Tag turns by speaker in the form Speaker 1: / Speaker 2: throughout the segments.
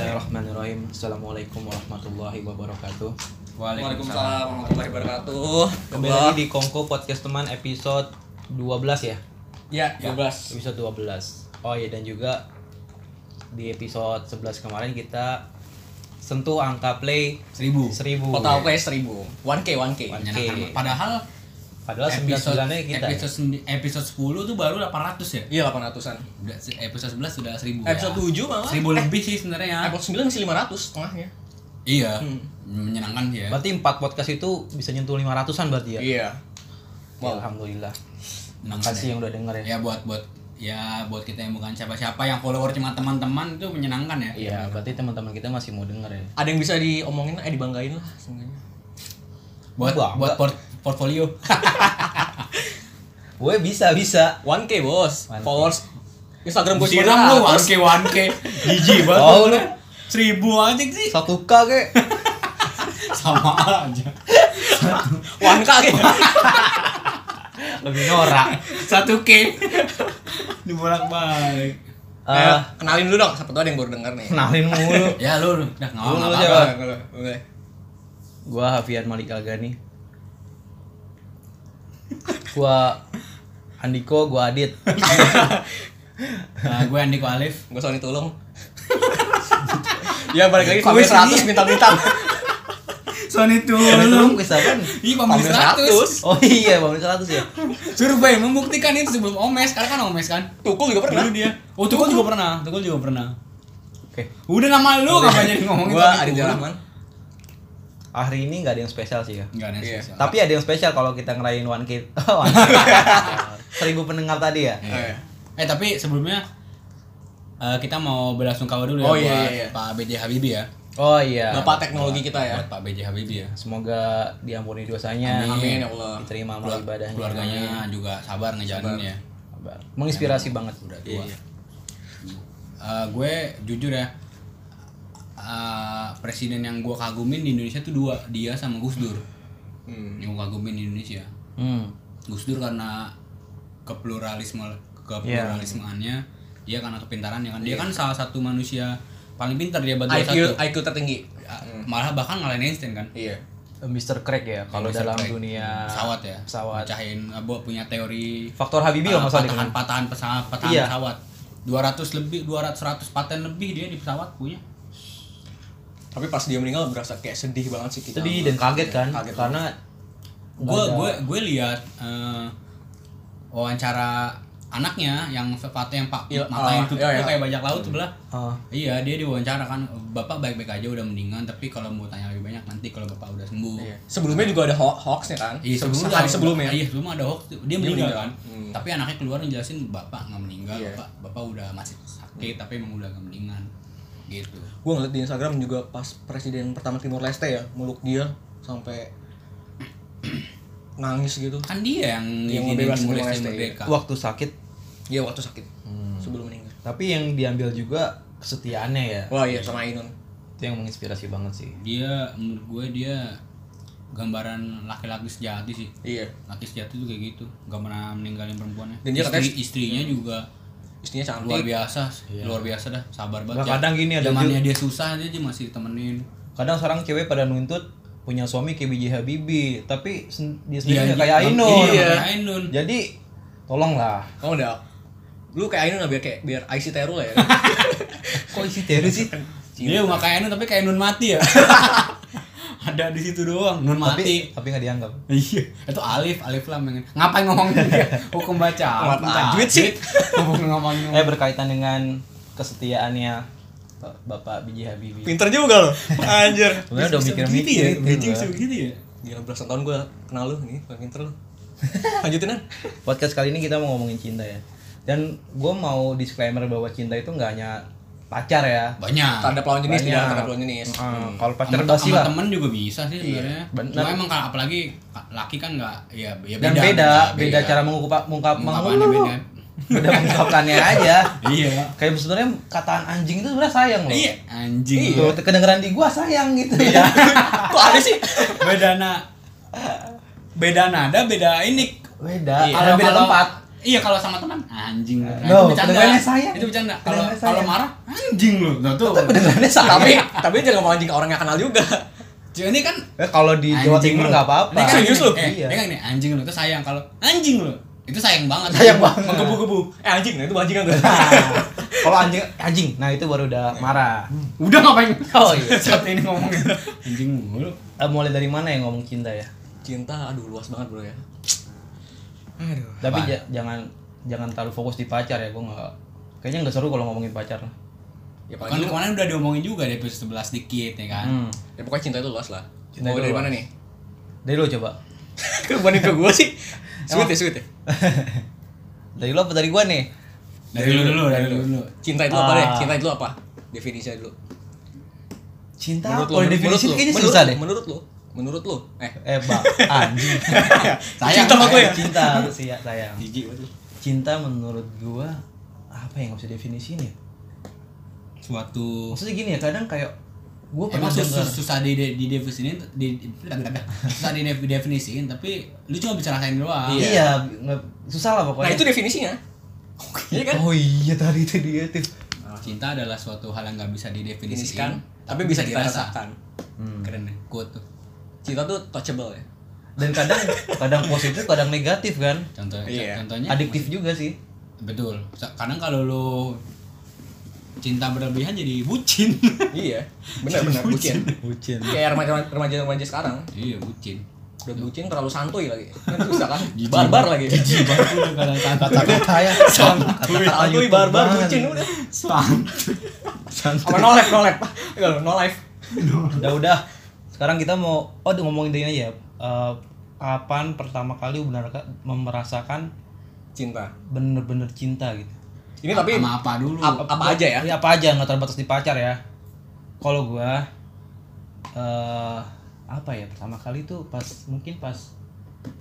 Speaker 1: Bismillahirrahmanirrahim. Assalamualaikum warahmatullahi wabarakatuh.
Speaker 2: Waalaikumsalam warahmatullahi wabarakatuh.
Speaker 1: Kembali lagi di Kongko Podcast Teman episode 12 ya.
Speaker 2: Ya, 12.
Speaker 1: Episode 12. Oh iya dan juga di episode 11 kemarin kita sentuh angka play
Speaker 3: seribu
Speaker 1: 1000.
Speaker 2: Total play 1000. 1K 1K.
Speaker 1: Oke.
Speaker 3: padahal
Speaker 1: Padahal 9 nya kita. ya.
Speaker 3: episode sendi- episode 10 tuh baru 800 ya
Speaker 2: Iya 800-an.
Speaker 3: Udah, se- episode 11 sudah 1000
Speaker 2: Episode
Speaker 3: ya.
Speaker 2: 7 malah.
Speaker 3: 1000 lebih
Speaker 1: Eh.
Speaker 3: sih sebenarnya
Speaker 2: Episode 9 masih 500 setengahnya.
Speaker 3: iya
Speaker 1: Hmm.
Speaker 3: menyenangkan sih ya
Speaker 1: Berarti 4 podcast itu bisa nyentuh 500-an berarti ya.
Speaker 2: Iya.
Speaker 1: Ya, Alhamdulillah.
Speaker 3: Menyenangkan
Speaker 1: Makasih yang udah denger ya.
Speaker 3: ya buat buat ya buat kita yang bukan siapa-siapa yang follower cuma teman-teman itu menyenangkan ya
Speaker 1: Iya, berarti teman-teman kita masih mau denger ya.
Speaker 2: Ada yang bisa diomongin eh dibanggain lah seenggaknya.
Speaker 3: buat
Speaker 1: Wah,
Speaker 3: buat port- portfolio
Speaker 1: Gue bisa, bisa.
Speaker 2: 1K bos.
Speaker 1: 1K.
Speaker 2: Followers Instagram gue
Speaker 3: siram lu 1k 1k jijik banget
Speaker 1: Oh, lu.
Speaker 3: seribu aja sih
Speaker 1: Satu K kek.
Speaker 3: sama aja
Speaker 2: 1K gitu.
Speaker 1: Lebih norak.
Speaker 3: 1k dibolak balik
Speaker 1: Eh,
Speaker 2: kenalin dulu dong, siapa tau ada yang baru denger nih.
Speaker 1: kenalin mulu.
Speaker 3: ya lu udah nggak
Speaker 1: Lu
Speaker 3: apa-apa
Speaker 1: aja,
Speaker 2: Apa? Boleh, boleh.
Speaker 1: gua Hafian Malik Algani gua Andiko gua Adit
Speaker 3: Nah, gue Andiko Alif.
Speaker 2: Gue Sony tolong. ya balik lagi
Speaker 3: Kuis
Speaker 2: sampai 100 bintang-bintang.
Speaker 3: Sony itu
Speaker 1: belum bisa kan
Speaker 3: Iya, pembeli
Speaker 2: Pembeli
Speaker 3: 100.
Speaker 1: oh iya bangun 100 ya
Speaker 3: Survei membuktikan itu sebelum Omes, karena kan Omes kan.
Speaker 2: Tukul juga pernah.
Speaker 3: Dulu dia. Oh, Tukul juga pernah. Tukul juga pernah.
Speaker 1: oke
Speaker 3: Udah nama lu ngapain jadi
Speaker 2: Gue
Speaker 3: ngomongin Sony
Speaker 2: Aditya
Speaker 3: Tulung?
Speaker 2: Rahman.
Speaker 1: hari ini nggak ada yang spesial sih ya
Speaker 3: Nggak ada yang
Speaker 2: Iya.
Speaker 3: spesial.
Speaker 1: tapi ada yang spesial kalau kita ngerayain one kid seribu pendengar tadi ya
Speaker 2: Oh, iya.
Speaker 3: Eh, tapi sebelumnya eh, kita mau belasungkawa dulu ya
Speaker 2: Oh,
Speaker 3: buat
Speaker 2: iya, iya, iya.
Speaker 3: Pak BJ Habibie ya.
Speaker 1: oh iya
Speaker 2: Bapak teknologi kita ya.
Speaker 3: Buat Pak BJ Habibie ya.
Speaker 1: semoga diampuni dosanya
Speaker 2: Amin ya Allah.
Speaker 1: diterima amal
Speaker 3: Keluar-
Speaker 2: Iya,
Speaker 1: ibadahnya
Speaker 3: Keluarganya juga sabar ngejalanin ya.
Speaker 1: Sabar. menginspirasi banget
Speaker 3: udah tua. Eh, gue jujur ya, eh, presiden yang gue kagumin di Indonesia tuh dua, dia sama Gus Dur.
Speaker 2: Hmm.
Speaker 3: Yang gue kagumin di Indonesia,
Speaker 1: hmm.
Speaker 3: Gus Dur karena kepluralisme kepluralismeannya,
Speaker 1: Iya.
Speaker 3: dia karena kepintarannya kan, dia kan salah satu manusia paling pintar dia bagi
Speaker 2: IQ
Speaker 3: satu,
Speaker 2: IQ tertinggi.
Speaker 3: Ah,
Speaker 1: Hmm.
Speaker 3: malah bahkan ngalahin Einstein kan.
Speaker 2: Iya.
Speaker 1: Mr. Craig ya kalau
Speaker 3: Mr.
Speaker 1: dalam
Speaker 3: Craig.
Speaker 1: dunia
Speaker 3: pesawat ya,
Speaker 1: Iya. pesawat.
Speaker 3: pecahin, eh, bu- punya teori eh,
Speaker 1: faktor Habibie loh masalah
Speaker 3: patahan, patahan pesawat, patahan
Speaker 1: Iya.
Speaker 3: pesawat. 200 lebih, 200 100 paten lebih dia di pesawat punya.
Speaker 2: Tapi pas dia meninggal berasa kayak sedih banget sih kita.
Speaker 1: sedih dan kaget kan
Speaker 3: Iya,
Speaker 2: Kaget
Speaker 1: karena
Speaker 3: gue gue gue lihat eh, wawancara anaknya yang sepatu yang pak
Speaker 2: Iya,
Speaker 3: mata yang
Speaker 2: ah,
Speaker 3: tutup
Speaker 2: iya,
Speaker 3: tuh
Speaker 2: iya.
Speaker 3: kayak bajak laut tuh belah
Speaker 1: Ah.
Speaker 3: iya dia diwawancara kan bapak baik baik aja udah mendingan tapi kalau mau tanya lebih banyak nanti kalau bapak udah sembuh
Speaker 2: Iya. Sebelumnya juga ada ho- hoaxnya kan?
Speaker 3: Iya sebelum
Speaker 2: Sehari sebelumnya.
Speaker 3: Iya sebelum ada hoax dia, meninggal
Speaker 2: meninggal.
Speaker 3: kan.
Speaker 2: Hmm.
Speaker 3: Tapi anaknya keluar ngejelasin bapak nggak meninggal,
Speaker 2: Iya.
Speaker 3: bapak bapak udah masih sakit tapi emang udah nggak mendingan gitu.
Speaker 2: Gue ngeliat di Instagram juga pas presiden pertama Timor Leste ya meluk dia sampai nangis gitu.
Speaker 3: Kan dia yang
Speaker 2: Yang
Speaker 3: ngizinin
Speaker 2: ngebebasin
Speaker 3: Timur Leste
Speaker 2: Timor Leste,
Speaker 3: merdeka.
Speaker 1: waktu sakit
Speaker 2: Iya waktu sakit sebelum meninggal.
Speaker 1: tapi yang diambil juga kesetiaannya ya
Speaker 2: Wah iya sama Ainun.
Speaker 1: itu yang menginspirasi banget sih
Speaker 3: dia menurut gue dia gambaran laki-laki sejati sih
Speaker 2: Iya.
Speaker 3: laki sejati tuh kayak gitu gak pernah meninggalin perempuannya
Speaker 2: Dan dia
Speaker 3: Istri-
Speaker 2: katanya-
Speaker 3: istrinya juga
Speaker 2: Istrinya
Speaker 3: luar
Speaker 2: cantik.
Speaker 3: biasa luar biasa dah sabar banget ya.
Speaker 1: Nah, kadang gini ada
Speaker 3: zamannya dia susah aja dia masih temenin
Speaker 1: kadang seorang cewek pada nuntut punya suami kayak BJ Habibie tapi sen- dia sendiri
Speaker 3: Iya,
Speaker 1: nggak kayak
Speaker 3: iya.
Speaker 1: Ainun
Speaker 3: Iya, kayak Ainun.
Speaker 1: jadi tolonglah
Speaker 2: Kamu udah lu kayak Ainun lah biar kayak biar IC Terul ya.
Speaker 1: kok isi teori sih
Speaker 3: dia nggak kayak Nun tapi kayak Nun mati ya ada di situ doang Nun
Speaker 1: tapi
Speaker 3: mati
Speaker 1: tapi nggak dianggap
Speaker 3: Iya, itu Alif, Alif lah pengen. Ngapain ngomongin dia? Oh, Hukum baca.
Speaker 2: Amat tajwid sih.
Speaker 3: Ngomongin ngomongin.
Speaker 1: eh berkaitan dengan kesetiaannya Ba- Bapak BJ Habibie
Speaker 2: Pinter juga lo. Anjir.
Speaker 1: sebenarnya udah mikir-mikir
Speaker 3: Gitu ya,
Speaker 1: itu,
Speaker 3: bridging
Speaker 1: Mbak.
Speaker 3: sebegitu ya.
Speaker 2: Gila belasan tahun gue kenal lu nih, paling pinter lu. Lanjutin kan?
Speaker 1: podcast kali ini kita mau ngomongin cinta ya dan gue mau disclaimer bahwa cinta itu nggak hanya pacar ya
Speaker 3: Banyak.
Speaker 2: Tanda lawan jenis
Speaker 1: Banyak.
Speaker 2: tidak ada tanda lawan jenis.
Speaker 1: Eh, kalau pacar
Speaker 3: sama,
Speaker 1: basi lah
Speaker 3: sama
Speaker 1: Iya,
Speaker 3: temen juga bisa sih sebenarnya.
Speaker 1: bener.
Speaker 3: Cuma emang kalau apalagi laki kan nggak ya, ya
Speaker 1: dan beda beda, cara mengungkap mengungkap
Speaker 3: Mengungkapannya
Speaker 1: mengungkap
Speaker 3: beda.
Speaker 1: beda mengungkapkannya aja
Speaker 3: Iya.
Speaker 1: kayak sebenarnya kataan anjing itu sebenarnya sayang loh
Speaker 3: Iya, anjing.
Speaker 1: Tuh, kedengeran di gua sayang gitu ya
Speaker 2: Kok ada sih?
Speaker 3: Beda na beda nada, beda ini.
Speaker 1: beda Iya.
Speaker 3: Iya.
Speaker 1: ada beda
Speaker 3: Kalau-
Speaker 1: tempat
Speaker 3: Iya kalau sama teman anjing lu.
Speaker 2: No,
Speaker 3: Nah, itu bercanda.
Speaker 2: pendengarnya saya.
Speaker 3: Itu bercanda. Kalau
Speaker 2: Pendengarnya saya.
Speaker 3: kalau marah anjing lu. Nah tuh.
Speaker 2: Benerannya salah. Tapi Eh, tapi jangan ngomong anjing ke orang yang kenal juga.
Speaker 3: Cuy, ini kan
Speaker 1: Eh, kalau di Jawa
Speaker 3: anjing
Speaker 1: Timur
Speaker 3: lu.
Speaker 1: nggak apa-apa.
Speaker 3: Ini kan
Speaker 2: Serius lu?
Speaker 3: Eh,
Speaker 1: Iya.
Speaker 3: ini kan ini anjing lu itu sayang kalau anjing lu. Itu sayang banget.
Speaker 1: Sayang banget.
Speaker 3: Menggebu-gebu.
Speaker 2: Eh anjing, nah itu anjing kan.
Speaker 1: kalau anjing anjing, nah itu baru udah marah.
Speaker 3: Udah ngapain?
Speaker 1: Oh, iya.
Speaker 3: Saat ini ngomongin anjing mulu.
Speaker 1: Eh, mulai dari mana ya ngomong cinta ya?
Speaker 2: Cinta aduh luas banget bro ya. Aduh.
Speaker 1: Tapi
Speaker 3: Apaan?
Speaker 1: ja- jangan jangan terlalu fokus di pacar ya, gua nggak. Kayaknya nggak seru kalau ngomongin pacar.
Speaker 2: Ya
Speaker 3: Kan
Speaker 2: pokoknya,
Speaker 3: kemarin udah diomongin juga di episode 11 dikit ya kan.
Speaker 1: Hmm.
Speaker 2: ya, pokoknya cinta itu luas lah.
Speaker 1: Cinta
Speaker 2: Mau
Speaker 1: itu
Speaker 2: dari
Speaker 1: luas.
Speaker 2: mana nih?
Speaker 1: Dari lo coba.
Speaker 2: Kan bukan ke gua sih. Sweet ya, sweet ya.
Speaker 1: dari lo apa dari gua nih?
Speaker 3: Dari lu dulu, dari lu dulu.
Speaker 2: Cinta itu apa deh?
Speaker 1: Ah.
Speaker 2: Cinta itu apa? Definisinya dulu.
Speaker 1: Cinta
Speaker 2: Menurut lu,
Speaker 1: kalau
Speaker 2: menurut
Speaker 1: definisi
Speaker 2: lu,
Speaker 1: kayaknya
Speaker 2: menurut
Speaker 1: susah
Speaker 2: lu,
Speaker 1: deh.
Speaker 2: Menurut lu, menurut lu. Eh,
Speaker 1: Eh, bang, anjing.
Speaker 3: Sayang.
Speaker 2: Cinta sama gue ya?
Speaker 1: Cinta sih ya, sayang.
Speaker 3: Jijik banget lu.
Speaker 1: Cinta menurut gua apa yang nggak bisa definisiin ya?
Speaker 3: Suatu
Speaker 1: Maksudnya gini ya, kadang kayak gua pernah
Speaker 3: Emang sus-
Speaker 1: denger.
Speaker 3: sus- susah di di di definisiin, di, di- susah di def- definisiin, tapi lu cuma bisa rasain doang.
Speaker 2: Iya.
Speaker 1: Iya, nggak susah lah
Speaker 2: nah
Speaker 1: pokoknya.
Speaker 2: itu definisinya. Iya kan?
Speaker 1: Oh iya tadi itu dia tuh.
Speaker 3: Cinta adalah suatu hal yang nggak bisa
Speaker 2: Definisikan,
Speaker 3: didefinisikan,
Speaker 2: tapi bisa kita rasakan. Hmm.
Speaker 3: Keren ya, quote tuh.
Speaker 2: Cinta tuh touchable ya.
Speaker 1: Dan kadang kadang positif, kadang negatif kan.
Speaker 3: Contohnya,
Speaker 2: Iya.
Speaker 3: contohnya
Speaker 1: Adiktif juga sih.
Speaker 3: Betul. Sa- Kadang kalau lu cinta berlebihan jadi bucin.
Speaker 2: iya, benar-benar bucin.
Speaker 1: Bucin.
Speaker 2: Kayak remaja- remaja-remaja sekarang
Speaker 3: iya, bucin.
Speaker 2: udah bucin terlalu santuy lagi. Kan susah kan? Barbar lagi.
Speaker 3: Jijik banget lu kalau santai.
Speaker 1: Kata-kata ya.
Speaker 2: Santuy,
Speaker 1: YouTube
Speaker 2: barbar,
Speaker 1: banget.
Speaker 2: bucin udah.
Speaker 1: Santai.
Speaker 2: Sama no life, no life. Enggak, no life.
Speaker 1: Udah udah. Sekarang kita mau oh udah ngomongin dari ini aja. Eh, kapan pertama kali lu benar merasakan
Speaker 2: Cinta.
Speaker 1: bener-bener cinta gitu?
Speaker 2: Ini tapi
Speaker 3: sama apa dulu?
Speaker 2: ap- apa aja ya?
Speaker 1: Ini apa aja nggak terbatas di pacar ya? Kalau gua eh apa ya pertama kali tuh pas mungkin pas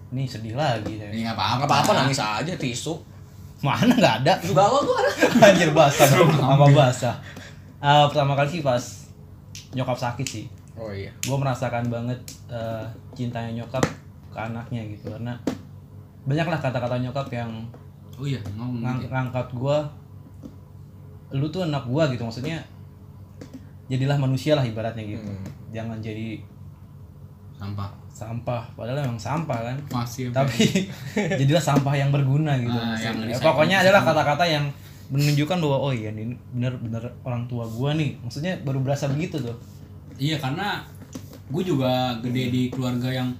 Speaker 1: nih sedih lagi saya.
Speaker 3: Ini nggak apa-apa.
Speaker 2: Enggak apa-apa nangis aja tisu.
Speaker 1: Mana nggak ada?
Speaker 2: Lu galau tuh ada.
Speaker 1: Anjir basah dong, sama basah. Eh, pertama kali sih pas nyokap sakit sih.
Speaker 2: Oh iya.
Speaker 1: Gue merasakan banget eh, cintanya nyokap ke anaknya gitu karena banyaklah kata-kata nyokap yang
Speaker 3: Oh iya, ngomong.
Speaker 1: ngang-
Speaker 3: nanti.
Speaker 1: ngangkat gue lu tuh anak gua gitu maksudnya jadilah manusia lah ibaratnya gitu
Speaker 2: Hmm.
Speaker 1: jangan jadi
Speaker 3: Sampah. Iya,
Speaker 1: sampah padahal emang sampah kan
Speaker 3: Masih apa?
Speaker 1: tapi jadilah sampah yang berguna gitu.
Speaker 3: Ah, yang
Speaker 1: Ya,
Speaker 3: recycle-
Speaker 1: pokoknya adalah
Speaker 3: recycle.
Speaker 1: kata-kata yang menunjukkan bahwa oh iya ini bener-bener orang tua gua nih. Maksudnya baru berasa begitu tuh.
Speaker 3: Iya karena gue juga gede di keluarga yang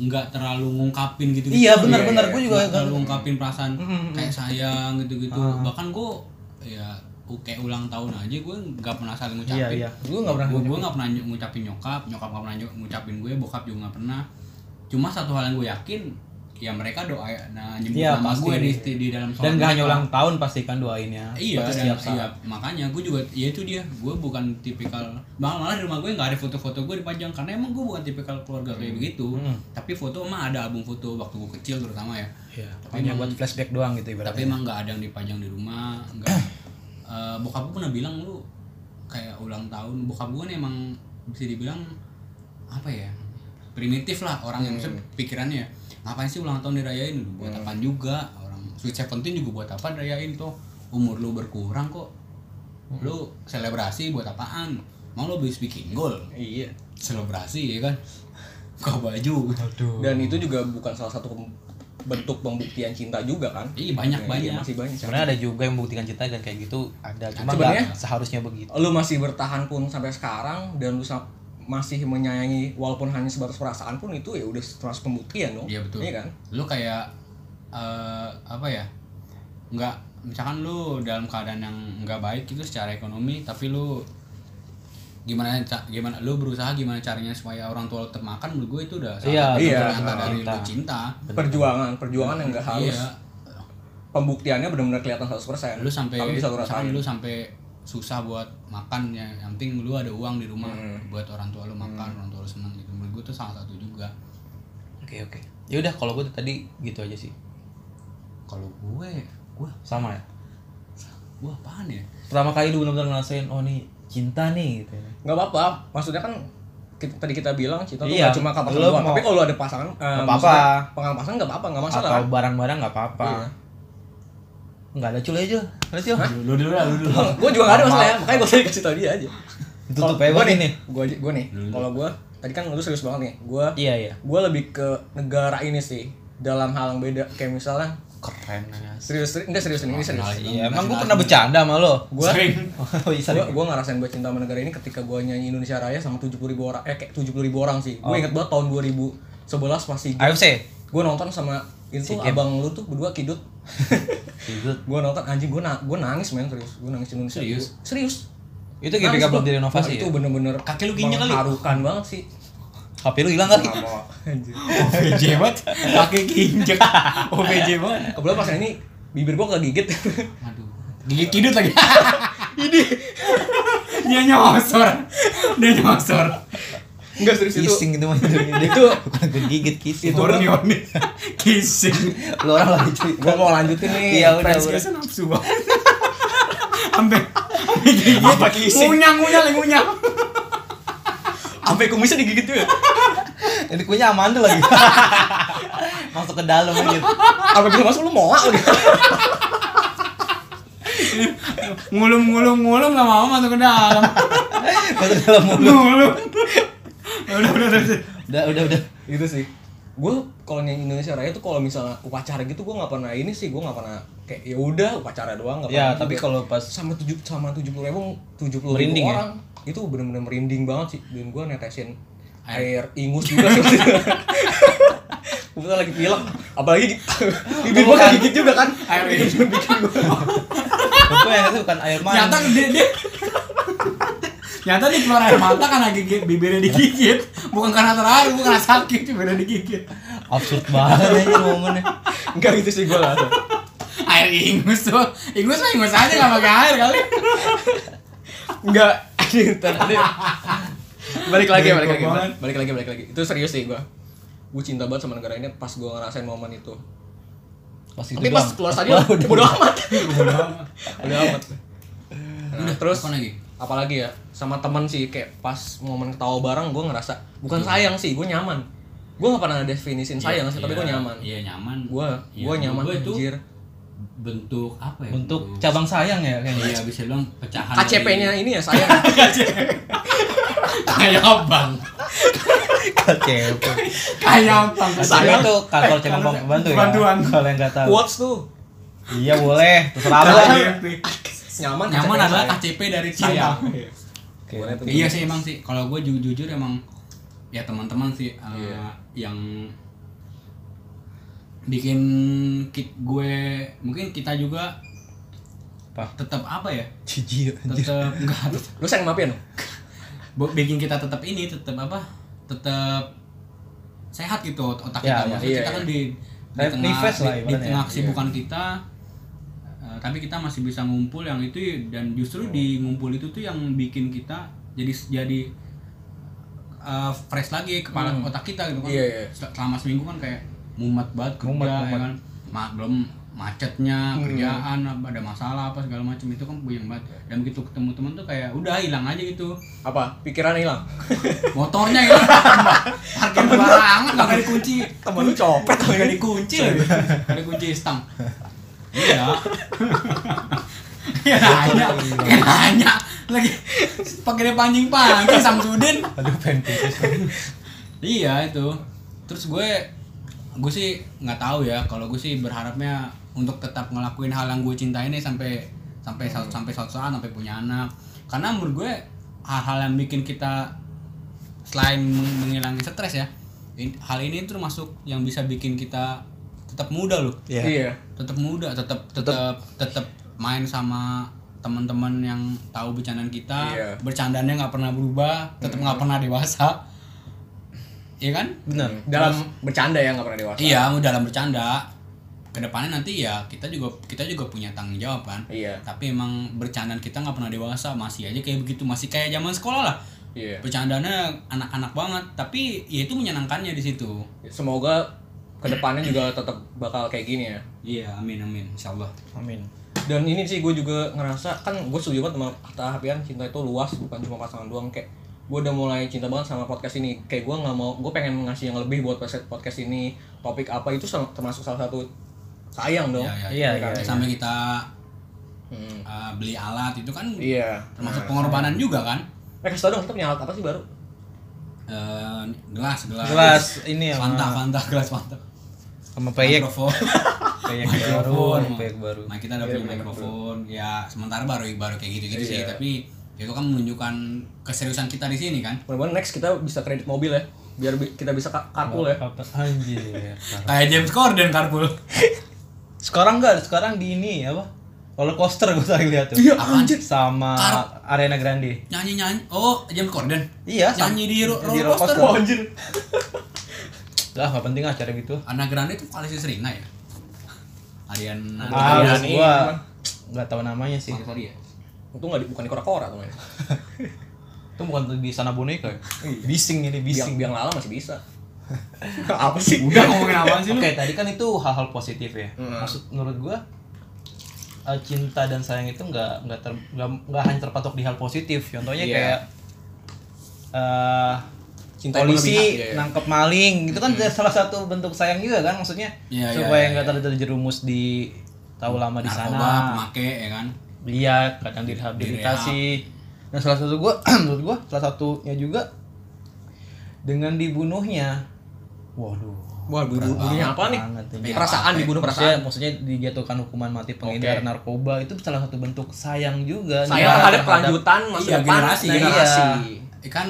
Speaker 3: nggak terlalu ngungkapin gitu.
Speaker 1: Iya, benar-benar. Gua juga nggak-
Speaker 3: terlalu ngungkapin perasaan
Speaker 1: Mm-mm.
Speaker 3: kayak sayang gitu-gitu.
Speaker 1: Ah.
Speaker 3: Bahkan gue ya u- kayak ulang tahun aja gue nggak pernah saling ngucapin.
Speaker 1: Iya, iya. Gua nggak pernah
Speaker 3: Gua- gua
Speaker 1: ngucapin.
Speaker 3: nggak pernah nyu- ngucapin nyokap, nyokap nggak pernah nyu- ngucapin gue, bokap juga nggak pernah. Cuma satu hal yang gue yakin ya mereka doa nah nyebut
Speaker 1: Iya,
Speaker 3: nama
Speaker 1: pasti.
Speaker 3: gue di, di dalam sholat
Speaker 1: Dan gak hanya
Speaker 3: mereka.
Speaker 1: ulang tahun pasti kan doainnya.
Speaker 3: Iya,
Speaker 1: Pasti
Speaker 3: dan-
Speaker 1: setiap saat.
Speaker 3: iya, makanya gue juga, ya itu dia, gue bukan tipikal, malah malah di rumah gue nggak ada foto-foto gue dipajang karena emang gue bukan tipikal keluarga kayak begitu.
Speaker 1: Hmm.
Speaker 3: Tapi foto emang ada album foto waktu gue kecil terutama ya.
Speaker 1: Iya.
Speaker 3: Tapi
Speaker 1: Hanya buat
Speaker 3: emang-
Speaker 1: flashback doang gitu ibaratnya.
Speaker 3: Tapi emang nggak ada yang dipajang di rumah. Nggak. Eh, bokap gue pernah bilang lu kayak ulang tahun, bokap gue nih emang bisa dibilang apa ya primitif lah orang yang maksudnya pikirannya ngapain sih ulang tahun dirayain lu buat apaan juga orang sweet seventeen juga buat apa dirayain tuh umur lu berkurang kok lu selebrasi buat apaan mau lu habis bikin gol
Speaker 2: Iya.
Speaker 3: selebrasi ya kan kau baju
Speaker 1: Aduh.
Speaker 2: Dan itu juga bukan salah satu pem- bentuk pembuktian cinta juga kan?
Speaker 3: Iya,
Speaker 2: Iya,
Speaker 3: banyak-banyak.
Speaker 2: masih banyak.
Speaker 1: sebenarnya ada juga yang membuktikan cinta dan kayak gitu ada cuma
Speaker 2: Sebenarnya-
Speaker 1: nggak seharusnya begitu.
Speaker 2: Lu masih bertahan pun sampai sekarang dan lu sa- masih menyayangi walaupun hanya sebatas perasaan pun itu ya udah termasuk pembuktian dong.
Speaker 3: Iya betul.
Speaker 2: Iya kan?
Speaker 3: Lu kayak eh, apa ya? Nggak misalkan lu dalam keadaan yang nggak baik itu secara ekonomi tapi lu gimana ca- gimana lu berusaha gimana caranya supaya orang tua lu tetap makan menurut gue itu udah salah
Speaker 1: Iya,
Speaker 3: satu
Speaker 2: iya,
Speaker 3: ternyata
Speaker 1: betul.
Speaker 3: dari
Speaker 1: Cinta.
Speaker 3: lu cinta.
Speaker 2: Perjuangan, perjuangan yang enggak harus
Speaker 3: Iya.
Speaker 2: pembuktiannya benar-benar kelihatan 100%.
Speaker 3: Lu sampai
Speaker 2: tapi bisa lu rasain.
Speaker 3: misalkan lu sampai susah buat makan ya yang penting lu ada uang di rumah
Speaker 2: Mm-hmm.
Speaker 3: buat orang tua lu makan orang tua lu senang gitu menurut gue itu salah satu juga
Speaker 1: Oke oke. Ya udah kalau gue tadi gitu aja sih.
Speaker 3: kalau gue gue
Speaker 1: Sama ya.
Speaker 3: gue apaan ya
Speaker 1: Pertama kali lu benar-benar ngerasain oh nih cinta nih gitu. ya.
Speaker 2: nggak apa-apa maksudnya kan kita, tadi kita bilang cinta tuh
Speaker 1: Iya,
Speaker 2: nggak cuma kapal
Speaker 1: lu
Speaker 2: doang.
Speaker 1: mau-
Speaker 2: Tapi kalau ada pasangan,
Speaker 1: Nggak
Speaker 2: eh,
Speaker 1: apa-apa.
Speaker 2: maksudnya pengal pasangan nggak apa-apa, nggak masalah.
Speaker 1: atau barang-barang nggak apa-apa
Speaker 2: Iya.
Speaker 1: nggak ada cul aja Jul. ada cul
Speaker 3: Lu dulu lah, lu dulu.
Speaker 2: gue juga nggak ada masalah ya, makanya gue tadi kasih tau dia aja.
Speaker 1: tutup aja buat ini
Speaker 2: Gue gue nih,
Speaker 3: Dulu.
Speaker 2: kalau gue tadi kan lu serius banget nih. Gue
Speaker 1: iya iya
Speaker 2: gue lebih ke negara ini sih dalam hal yang beda kayak misalnya
Speaker 1: keren ya
Speaker 2: serius serius enggak serius ini serius
Speaker 1: iya emang gue pernah bercanda sama lo
Speaker 2: gue
Speaker 3: Sering.
Speaker 1: oh iya
Speaker 2: gue
Speaker 1: sering.
Speaker 2: gue ngerasain gue cinta sama negara ini ketika gue nyanyi Indonesia Raya sama tujuh puluh ribu orang eh kayak tujuh puluh ribu orang sih gue inget banget tahun 2011 pas masih
Speaker 1: AFC
Speaker 2: gue nonton sama itu
Speaker 1: Sikit.
Speaker 2: abang lu tuh berdua kidut
Speaker 1: Kidut.
Speaker 2: gue nonton anjing gue na gue nangis men serius gue nangis Indonesia
Speaker 3: Serius?
Speaker 2: Gua- serius
Speaker 1: itu GBK belum
Speaker 2: gua.
Speaker 1: direnovasi
Speaker 2: Wah, itu
Speaker 1: ya?
Speaker 2: bener-bener
Speaker 3: Kaki lu ginya kali.
Speaker 2: mengharukan banget sih
Speaker 1: HP lu hilang kali
Speaker 2: Sama- anjing
Speaker 3: OVJ banget, pakai ginjek. OVJ banget.
Speaker 2: kebetulan pas ini bibir gue kegigit
Speaker 3: Aduh. Gigit kidut lagi. Ini. Dia nyosor. Dia nyosor.
Speaker 2: enggak serius itu
Speaker 1: kising itu mah itu kan-
Speaker 2: Itu-
Speaker 1: bukan kegigit kising
Speaker 2: Itu-
Speaker 3: Borneo nih. Kissing.
Speaker 1: lo orang lagi cerita
Speaker 2: gue mau lanjutin nih
Speaker 1: Iya, udah,
Speaker 2: Friends
Speaker 1: udah.
Speaker 2: Kiss.
Speaker 3: Kissing nafsu banget. Sampai sampai gigit.
Speaker 2: Apa kissing?
Speaker 3: Ngunyah, ngunyah, lagi ngunyah.
Speaker 2: sampai kumisnya digigit juga
Speaker 1: ini kuenya amandel lagi masuk ke dalam aja
Speaker 2: apa bisa masuk lu mau lagi
Speaker 3: Ngulum, ngulum, ngulum gak mau masuk ke dalam.
Speaker 1: masuk ke dalam mulut
Speaker 3: Ngulum. Udah, udah, udah. udah.
Speaker 1: udah udah udah
Speaker 2: gitu sih gue kalau nyanyi Indonesia Raya tuh kalau misalnya upacara gitu gue nggak pernah ini sih gue nggak pernah kayak ya udah upacara doang nggak
Speaker 1: ya
Speaker 2: pernah
Speaker 1: tapi
Speaker 2: juga.
Speaker 1: kalau pas
Speaker 2: sama tujuh sama tujuh puluh ribu tujuh puluh
Speaker 1: Merinding ya?
Speaker 2: orang itu bener-bener merinding banget sih dan gue netesin air, ingus juga sih kebetulan lagi pilek apalagi di- bibir gue
Speaker 1: Bukan.
Speaker 2: gigit juga kan
Speaker 3: Air ingus.
Speaker 2: bikin gue
Speaker 1: gue yang itu bukan air
Speaker 3: Nyata
Speaker 1: mani
Speaker 3: dia, dia Nyata dia keluar air mata karena gigit, bibirnya digigit Bukan karena terharu, bukan karena sakit, bibirnya digigit
Speaker 1: absurd banget aja momennya
Speaker 2: nggak gitu sih gue nggak tahu.
Speaker 3: Air ingus tuh, ingus mah ingus aja gak pakai air kali
Speaker 2: nggak anjing, ntar, tadi balik lagi
Speaker 3: Bego
Speaker 2: balik lagi
Speaker 3: banget.
Speaker 2: balik lagi balik lagi itu serius sih gue gue cinta banget sama negara ini pas gue ngerasain momen itu
Speaker 1: pas itu
Speaker 2: tapi pas
Speaker 1: doang.
Speaker 2: keluar stadion
Speaker 1: Udah,
Speaker 2: bodo amat bodo amat Nah, terus
Speaker 3: apaan lagi?
Speaker 2: apalagi ya sama teman sih kayak pas momen ketawa bareng gue ngerasa bukan sayang sih gue nyaman gue nggak pernah definisin sayang sih tapi gue nyaman
Speaker 3: Iya nyaman
Speaker 2: gue
Speaker 3: Iya,
Speaker 2: gue nyaman
Speaker 3: gua itu
Speaker 2: anjir
Speaker 3: bentuk apa ya?
Speaker 1: bentuk cabang sayang ya kayaknya
Speaker 3: Iya bisa bilang pecahan
Speaker 2: KCP-nya ini ya sayang
Speaker 3: Kayak abang
Speaker 1: KCP
Speaker 3: Kayak abang
Speaker 1: KCP itu kantor cabang pembantu ya
Speaker 3: Bantuan
Speaker 1: kalau yang nggak tahu
Speaker 2: quotes tuh
Speaker 1: iya boleh terserah lo
Speaker 2: Iya. nyaman
Speaker 3: Nyaman
Speaker 2: KCP-nya sayang.
Speaker 3: adalah KCP dari
Speaker 2: Iya.
Speaker 3: sayang
Speaker 1: Oke.
Speaker 2: Boleh tuh.
Speaker 3: Iya sih emang sih. Kalau gue ju jujur emang ya teman-teman sih eh,
Speaker 2: Iya.
Speaker 3: yang bikin kit gue mungkin kita juga
Speaker 1: Apa?
Speaker 3: tetap apa ya?
Speaker 1: jijik anjir
Speaker 3: Tetap enggak
Speaker 2: lu sayang maafin
Speaker 3: bikin kita tetap ini tetap apa? Tetap sehat gitu ot- otak
Speaker 1: Ya,
Speaker 3: kita.
Speaker 1: ya,
Speaker 3: Maksudnya
Speaker 2: iya,
Speaker 3: kita
Speaker 2: iya.
Speaker 3: kan di di
Speaker 1: Kayak
Speaker 3: tengah
Speaker 1: refresh lah
Speaker 3: di- di,
Speaker 1: ibaratnya. iya.
Speaker 3: tengah kesibukan kita eh, tapi kita masih bisa ngumpul yang itu dan justru di ngumpul itu tuh yang bikin kita jadi jadi eh, fresh lagi kepala
Speaker 1: Hmm.
Speaker 3: otak kita gitu kan.
Speaker 2: Iya, iya.
Speaker 3: Sel- Selama seminggu kan kayak mumet banget kerja
Speaker 1: Mumet, Hmm.
Speaker 3: ya
Speaker 1: mumet.
Speaker 3: kan. Ma- belum macetnya, kerjaan, apa- ada masalah apa segala macam itu kan puyeng banget. Dan begitu ketemu temen tuh kayak udah hilang aja gitu.
Speaker 2: apa pikiran hilang
Speaker 3: Motornya hilang. Parkir barangan enggak dikunci.
Speaker 2: temen lu copet
Speaker 3: Gak dikunci lagi. Gak dikunci stang. Iya. Kayak nanya, kayak nanya lagi pakai dia pancing-pancing Samsudin.
Speaker 1: aduh pengen pipis
Speaker 3: Iya itu. Terus gue gue sih nggak tahu ya kalau gue sih berharapnya untuk tetap ngelakuin hal yang gue cintai nih sampai sampai sa- sampai suatu saat sampai punya anak. Karena menurut gue hal-hal yang bikin kita selain meng- menghilangi stres ya, in- hal ini termasuk yang bisa bikin kita tetap muda loh
Speaker 2: iya
Speaker 3: tetap muda tetap tetap tetap main sama teman-teman yang tahu bercandaan kita
Speaker 2: Iya.
Speaker 3: bercandanya nggak pernah berubah tetap nggak pernah dewasa Iya kan
Speaker 1: benar
Speaker 2: dalam bercanda ya nggak pernah dewasa
Speaker 3: iya dalam bercanda kedepannya nanti ya kita juga kita juga punya tanggung jawab kan
Speaker 2: iya
Speaker 3: tapi emang bercandaan kita nggak pernah dewasa masih aja kayak begitu masih kayak zaman sekolah lah
Speaker 2: iya
Speaker 3: bercandanya anak-anak banget tapi ya itu menyenangkannya di situ
Speaker 2: Ya, semoga kedepannya juga tetap bakal kayak gini ya
Speaker 3: iya amin amin insyaallah
Speaker 1: amin
Speaker 2: dan ini sih gue juga ngerasa kan gue setuju banget sama kata Hapian cinta itu luas bukan cuma pasangan doang kayak gue udah mulai cinta banget sama podcast ini kayak gue nggak mau gue pengen ngasih yang lebih buat podcast podcast ini topik apa itu sama- termasuk salah satu sayang dong
Speaker 3: Ya, ya,
Speaker 1: Iya,
Speaker 3: ya.
Speaker 1: iya,
Speaker 3: sampai kita
Speaker 2: Hmm.
Speaker 3: uh, beli alat itu kan
Speaker 2: iya
Speaker 3: termasuk pengorbanan juga kan
Speaker 2: eh kasih tau dong kita punya alat apa sih baru
Speaker 3: Eh, gelas gelas
Speaker 1: Gelas ini ya.
Speaker 3: fanta fanta gelas fanta
Speaker 1: sama peyek
Speaker 3: mikrofon
Speaker 1: peyek
Speaker 3: mikrofon
Speaker 1: baru peyek baru
Speaker 3: nah kita
Speaker 2: Iya,
Speaker 3: udah punya
Speaker 2: bener-bener.
Speaker 3: mikrofon ya sementara baru baru kayak gitu gitu sih
Speaker 2: Iya.
Speaker 3: tapi itu kan menunjukkan keseriusan kita di sini kan
Speaker 2: mudah-mudahan next kita bisa kredit mobil ya biar bi- kita bisa ka- carpool ya
Speaker 1: Apa- anjir
Speaker 3: kayak James Corden carpool
Speaker 1: sekarang enggak sekarang di ini apa roller coaster gue tadi lihat tuh
Speaker 2: Iya,
Speaker 1: anjir sama Arena Grande
Speaker 3: nyanyi nyanyi oh James Corden
Speaker 1: iya sama-
Speaker 3: nyanyi di ro-
Speaker 1: di
Speaker 3: roller coaster Oh,
Speaker 1: roller coaster.
Speaker 2: anjir
Speaker 1: lah nggak penting acara gitu
Speaker 3: Ana Grande itu vokalisnya Serena ya Arian
Speaker 1: ah
Speaker 2: Ariana ini
Speaker 1: gue
Speaker 2: emang.
Speaker 1: nggak tahu namanya sih
Speaker 3: sorry ya
Speaker 2: itu nggak di, bukan di kora-kora tuh mainnya.
Speaker 1: itu bukan di sana boneka ya? bising ini
Speaker 2: biang
Speaker 1: bising
Speaker 2: biang lala masih bisa apa sih
Speaker 3: udah ngomongin apaan sih
Speaker 1: Oke
Speaker 3: lu
Speaker 1: tadi kan itu hal-hal positif ya.
Speaker 2: Mm.
Speaker 1: Maksud menurut gua eh, cinta dan sayang itu nggak nggak ter- nggak- nggak hanya terpatok di hal positif. Contohnya
Speaker 2: Iya.
Speaker 1: kayak eh
Speaker 2: Cinta yang berlebihan,
Speaker 1: polisi
Speaker 2: iya, iya.
Speaker 1: nangkep maling itu kan salah satu bentuk sayang juga kan maksudnya
Speaker 3: Iya, iya,
Speaker 1: supaya
Speaker 3: iya,
Speaker 1: nggak ter- terjerumus di tahu lama di
Speaker 3: narkoba
Speaker 1: sana.
Speaker 3: pemakai ya kan
Speaker 1: Iya kadang direhabilitasi. Nah salah satu gua menurut gua salah satunya juga dengan dibunuhnya. Waduh
Speaker 2: wah bu- bu- bunyinya apa nih
Speaker 1: banget ini.
Speaker 2: perasaan dibunuh
Speaker 1: Maksudnya,
Speaker 2: perasaan
Speaker 1: maksudnya dijatuhkan hukuman mati pengedar
Speaker 2: Oke.
Speaker 1: narkoba itu salah satu bentuk sayang juga.
Speaker 2: saya
Speaker 1: Nah,
Speaker 2: ada kelanjutan masa
Speaker 3: Iya,
Speaker 2: depan
Speaker 3: generasi,
Speaker 2: dan
Speaker 1: generasi.
Speaker 3: Eh, kan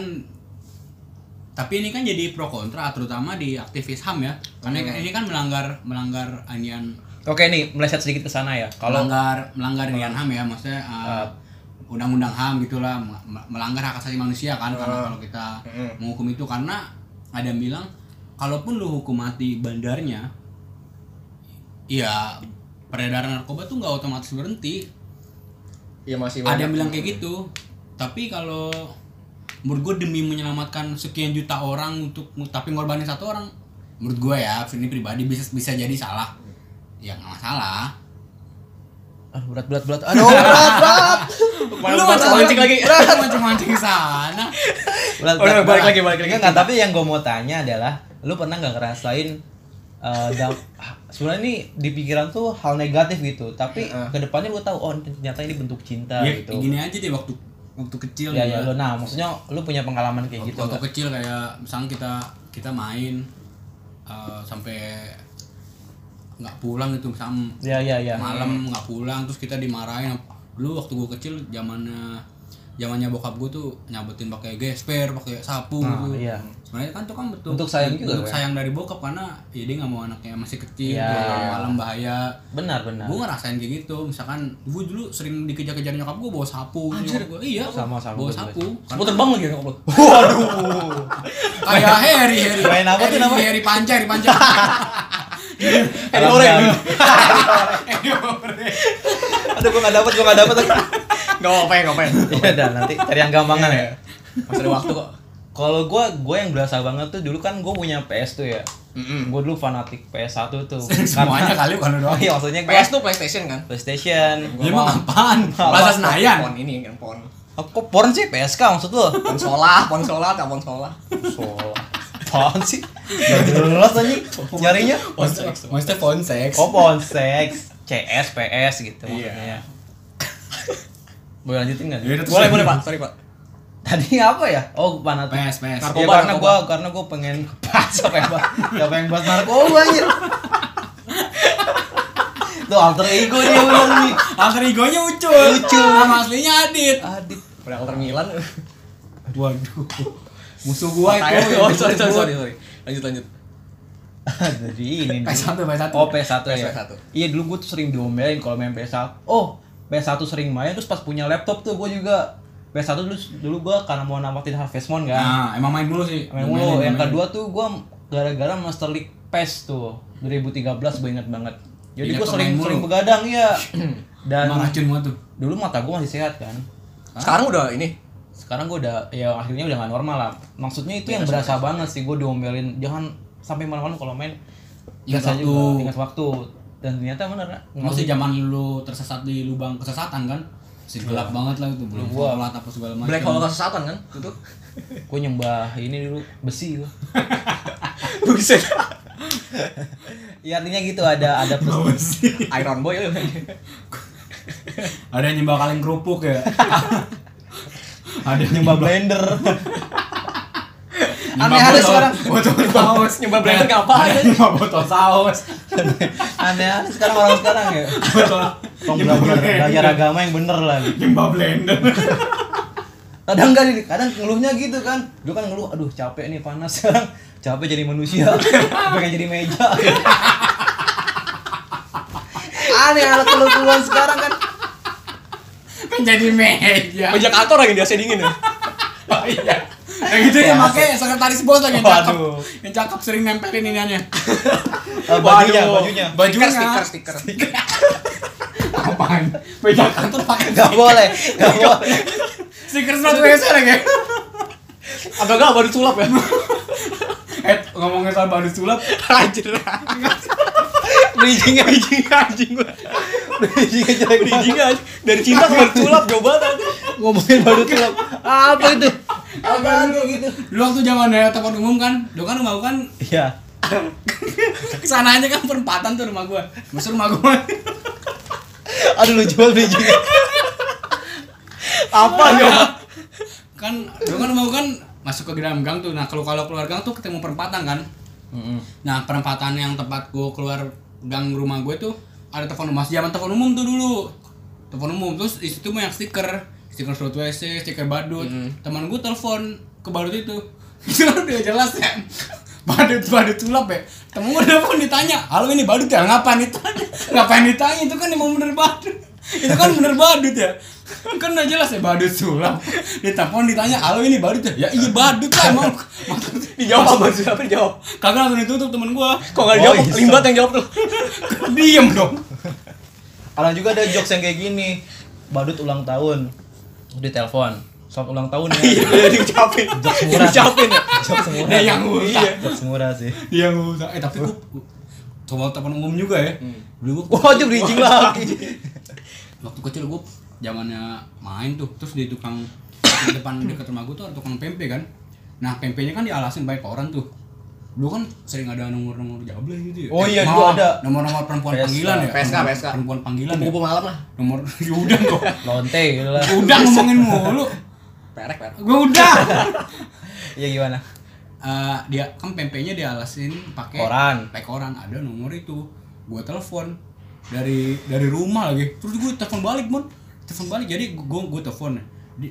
Speaker 3: tapi ini kan jadi pro kontra terutama di aktivis ham ya karena ini kan melanggar melanggar anian
Speaker 1: Oke nih meleset sedikit ke sana ya. Kalau
Speaker 3: melanggar melanggar anian ham ya maksudnya uh, undang-undang ham gitulah me- me- melanggar hak asasi manusia kan karena kalau kita
Speaker 2: Mm.
Speaker 3: menghukum itu karena ada yang bilang kalaupun lu hukum mati bandarnya ya peredaran narkoba tuh nggak otomatis berhenti
Speaker 2: Iya masih
Speaker 3: ada yang bilang kayak gitu tapi kalau menurut gue demi menyelamatkan sekian juta orang untuk tapi ngorbanin satu orang menurut gue ya ini pribadi bisa bisa jadi salah ya nggak masalah
Speaker 1: aduh berat berat berat. Aduh berat berat.
Speaker 2: Lu masih mancing lagi.
Speaker 3: mancing mancing sana
Speaker 1: berat,
Speaker 2: Udah,
Speaker 1: berat,
Speaker 2: balik
Speaker 1: berat.
Speaker 2: lagi, balik lagi.
Speaker 1: Enggak, tapi yang gue mau tanya adalah lu pernah nggak ngerasain eh, dam- sebenarnya ini di pikiran tuh hal negatif gitu tapi kedepannya lu tahu oh ternyata ini bentuk cinta
Speaker 2: Iya,
Speaker 3: ya,
Speaker 1: gitu
Speaker 3: gini aja deh waktu waktu kecil
Speaker 1: ya
Speaker 3: ya.
Speaker 1: ya lu nah maksudnya lu punya pengalaman kayak gitu
Speaker 3: waktu
Speaker 1: nggak?
Speaker 3: kecil kayak misalnya kita kita main eh, sampai nggak pulang gitu misalnya
Speaker 1: ya ya ya
Speaker 3: malam nggak pulang terus kita dimarahin dulu waktu gue kecil zamannya zamannya bokap gue tuh nyabetin pakai gesper pakai sapu gitu
Speaker 1: iya.
Speaker 3: sebenarnya kan tuh kan betul
Speaker 1: Bentuk sayang juga,
Speaker 3: bentuk
Speaker 1: ya?
Speaker 3: sayang dari bokap karena ya dia nggak mau anaknya masih kecil
Speaker 1: Iya. Nah.
Speaker 3: dia malam bahaya
Speaker 1: benar benar
Speaker 3: gue ngerasain kayak gitu misalkan gue dulu sering dikejar-kejar nyokap gue bawa sapu Anjir. gue iya
Speaker 1: Sama, sama gua
Speaker 3: bawa
Speaker 1: juga.
Speaker 3: sapu
Speaker 2: Gue terbang lagi ya lu
Speaker 1: Waduh.
Speaker 3: kayak Harry Harry
Speaker 1: Main apa tuh
Speaker 3: Harry-
Speaker 1: namanya?
Speaker 3: Harry panca Harry panca
Speaker 2: Harry Oreng.
Speaker 1: Aduh, gua gak dapet, gua gak dapet.
Speaker 2: Gak apa-apa ya, gak apa-apa ya
Speaker 1: ya udah, nanti cari yang gampangan ya.
Speaker 2: Masih ada waktu kok
Speaker 1: Kalau gua, gua yang berasa banget tuh dulu kan gua punya PS tuh ya.
Speaker 2: Mm-mm.
Speaker 1: Gua dulu fanatik PS1 tuh.
Speaker 3: semuanya kali bukan lu
Speaker 1: Oh
Speaker 3: doang
Speaker 1: iya, maksudnya gua
Speaker 2: PS tuh PlayStation kan?
Speaker 1: PlayStation.
Speaker 3: ya emang apaan
Speaker 2: Apa?
Speaker 3: bahasa Senayan
Speaker 2: Pon ini kan pon
Speaker 1: Apa kok porn sih PSK maksud lu?
Speaker 2: Ponsola, ponsola, tak ponsola
Speaker 1: Soal. Apaan sih? Gak jelas anjing nyarinya.
Speaker 3: Maksudnya phone sex.
Speaker 1: Oh, porn seks, CS, PS gitu maksudnya. Boleh lanjutin nggak?
Speaker 3: Ya udah, terus
Speaker 2: Boleh,
Speaker 3: lagi.
Speaker 2: boleh pak, sorry pak
Speaker 1: Tadi apa ya? Oh, fanatik
Speaker 3: PS, PS.
Speaker 1: Ya,
Speaker 2: Narkoba,
Speaker 1: karena
Speaker 2: narkoba.
Speaker 1: gua karena gua pengen siapa yang bahas siapa yang bahas narkoba anjir. Tuh alter ego dia bener nih.
Speaker 3: Alter egonya Ucul. Eh, Ucul. Nama aslinya Adit.
Speaker 1: Adit.
Speaker 2: Udah alter Milan
Speaker 3: Waduh. Musuh gua itu.
Speaker 2: Oh sorry, sorry, sorry, sorry Lanjut, lanjut
Speaker 1: Jadi ini. dulu.
Speaker 3: PS1, PS1.
Speaker 1: Oh, PS1 ya.
Speaker 2: PS1.
Speaker 1: Iya, dulu gua tuh sering diomelin kalau main PS1. Oh, PS1 sering main terus pas punya laptop tuh gua juga PS1 dulu dulu gua karena mau namatin Harvest Moon kan.
Speaker 3: Nah, emang main mulu sih.
Speaker 1: Main mulu. ya. Yang kedua tuh gua gara-gara Master League PES tuh 2013 gue inget banget. Jadi
Speaker 3: Di
Speaker 1: gua
Speaker 3: laptop
Speaker 1: sering
Speaker 3: main mulu.
Speaker 1: sering begadang ya. Dan
Speaker 3: Emang racun banget tuh.
Speaker 1: dulu mata gue masih sehat kan
Speaker 2: Sekarang udah ini
Speaker 1: sekarang gue udah ya akhirnya udah gak normal lah maksudnya itu yang berasa banget sih gue diomelin jangan sampai malam-malam kalau main
Speaker 3: Ingat
Speaker 1: biasa
Speaker 3: waktu.
Speaker 1: juga ingat waktu dan ternyata bener nggak
Speaker 3: Masih zaman lu tersesat di lubang kesesatan kan? masih gelap banget lah itu belum sholat apa segala macam
Speaker 2: Black hole kesesatan kan? Itu.
Speaker 1: gue nyembah ini dulu besi gue
Speaker 2: Buset.
Speaker 1: ya artinya gitu ada ada pers- oh
Speaker 3: Apa sih?
Speaker 2: Iron Boy. lu.
Speaker 1: iya.
Speaker 3: ada yang nyembah kaleng kerupuk ya ada yang
Speaker 1: nyembah blender
Speaker 3: nyembah
Speaker 1: Aneh ada
Speaker 3: botol-
Speaker 1: sekarang.
Speaker 3: botol saus
Speaker 2: Nyembah blender ngapain?
Speaker 3: Ada yang nyembah botol saus
Speaker 1: aneh aneh sekarang orang sekarang ya
Speaker 3: botol
Speaker 1: Tolong
Speaker 3: nyembah
Speaker 1: belajar belajar
Speaker 3: blender
Speaker 1: agama yang bener lah
Speaker 3: nyembah blender
Speaker 1: kadang kan ini kadang ngeluhnya gitu kan dulu kan ngeluh aduh capek nih panas sekarang capek jadi manusia pengen jadi meja aneh alat keluhan sekarang kan
Speaker 3: kan jadi meja
Speaker 2: Meja kantor lagi biasa dingin ya.
Speaker 3: oh iya yang itu yang pakai sekretaris bos lagi yang cakep yang cakep sering nempelin iniannya
Speaker 1: Eh, bajunya bajunya
Speaker 3: bajunya
Speaker 2: Stiker, stiker, stiker.
Speaker 3: apaan meja kantor pakai
Speaker 1: nggak boleh nggak boleh
Speaker 3: stiker surat wc lagi
Speaker 2: Atau enggak baru sulap ya?
Speaker 3: eh ngomongin soal baru sulap
Speaker 2: Anjir. Bridging anjing anjing gua.
Speaker 1: Bajunya jelek banget.
Speaker 2: Bridging anjing. Dari cinta ke baru sulap jauh banget. anjing.
Speaker 1: ngomongin baru tulang apa itu
Speaker 3: Apaan tuh gitu? Dulu waktu zaman daerah tempat umum kan, dulu kan rumah gua kan
Speaker 1: ya
Speaker 3: kesana aja kan perempatan tuh rumah gua. Masuk rumah gua.
Speaker 1: aduh lu jual bajunya
Speaker 2: Apa
Speaker 1: Iya.
Speaker 2: ya?
Speaker 3: kan dulu kan rumah gua kan masuk ke dalam gang tuh. Nah, kalau kalau keluar gang tuh ketemu perempatan kan. Nah, perempatan yang tempat gua keluar gang rumah gue tuh ada telepon rumah zaman telepon umum tuh dulu. Telepon umum terus di situ mah yang stiker, stiker surat WC, stiker badut. Teman gua telepon ke badut itu. Itu kan udah jelas ya. Badut badut sulap ya. Temen gua telepon ditanya, "Halo ini badut ya? Ngapain ditanya? Ngapain ditanya? Itu kan emang bener badut." Itu kan bener badut ya. Kan udah jelas ya badut sulap. Ditelepon ditanya, "Halo ini badut ya?" Ya iya badut lah emang.
Speaker 2: Dijawab apa baru sulap dijawab.
Speaker 3: Kagak langsung ditutup temen gua.
Speaker 2: Kok enggak
Speaker 1: Oh,
Speaker 2: dijawab?
Speaker 1: iya.
Speaker 2: Limbat yang jawab tuh.
Speaker 3: Diem dong.
Speaker 1: Kadang juga ada jokes yang kayak gini. Badut ulang tahun. Udah telepon. Soal ulang tahun ya.
Speaker 2: Iya, diucapin.
Speaker 1: murah.
Speaker 2: Diucapin ya.
Speaker 1: jokes Nah, murah. Iya.
Speaker 3: Dia yang ngurus.
Speaker 1: Jokes murah sih.
Speaker 3: Dia yang ngurus. Eh tapi gua gua- sama teman umum juga ya.
Speaker 2: Hmm.
Speaker 3: Dulu gua
Speaker 1: Wah, dia bridging lagi.
Speaker 3: waktu kecil gua zamannya main tuh terus di tukang di depan dekat rumah gua tuh ada tukang pempek kan. Nah, pempeknya kan dialasin baik orang tuh. Dulu kan sering ada nomor-nomor jable gitu ya.
Speaker 1: Oh
Speaker 3: Eh,
Speaker 1: iya,
Speaker 3: maaf,
Speaker 1: dulu ada.
Speaker 3: Nomor-nomor perempuan
Speaker 1: PSK.
Speaker 3: panggilan ya.
Speaker 2: PSK.
Speaker 3: Nomor Perempuan panggilan ya.
Speaker 2: malam lah.
Speaker 3: Nomor ya udah kok.
Speaker 1: Lonte gitu lah.
Speaker 3: Udah ngomongin mulu.
Speaker 2: Perek, perek.
Speaker 3: Gua udah.
Speaker 1: Ya gimana?
Speaker 3: Eh, dia kan pempeknya dialasin pakai
Speaker 1: Koran.
Speaker 3: pakai koran ada nomor itu gue telepon dari dari rumah lagi terus gue telepon balik mon telepon balik jadi gue gue telepon di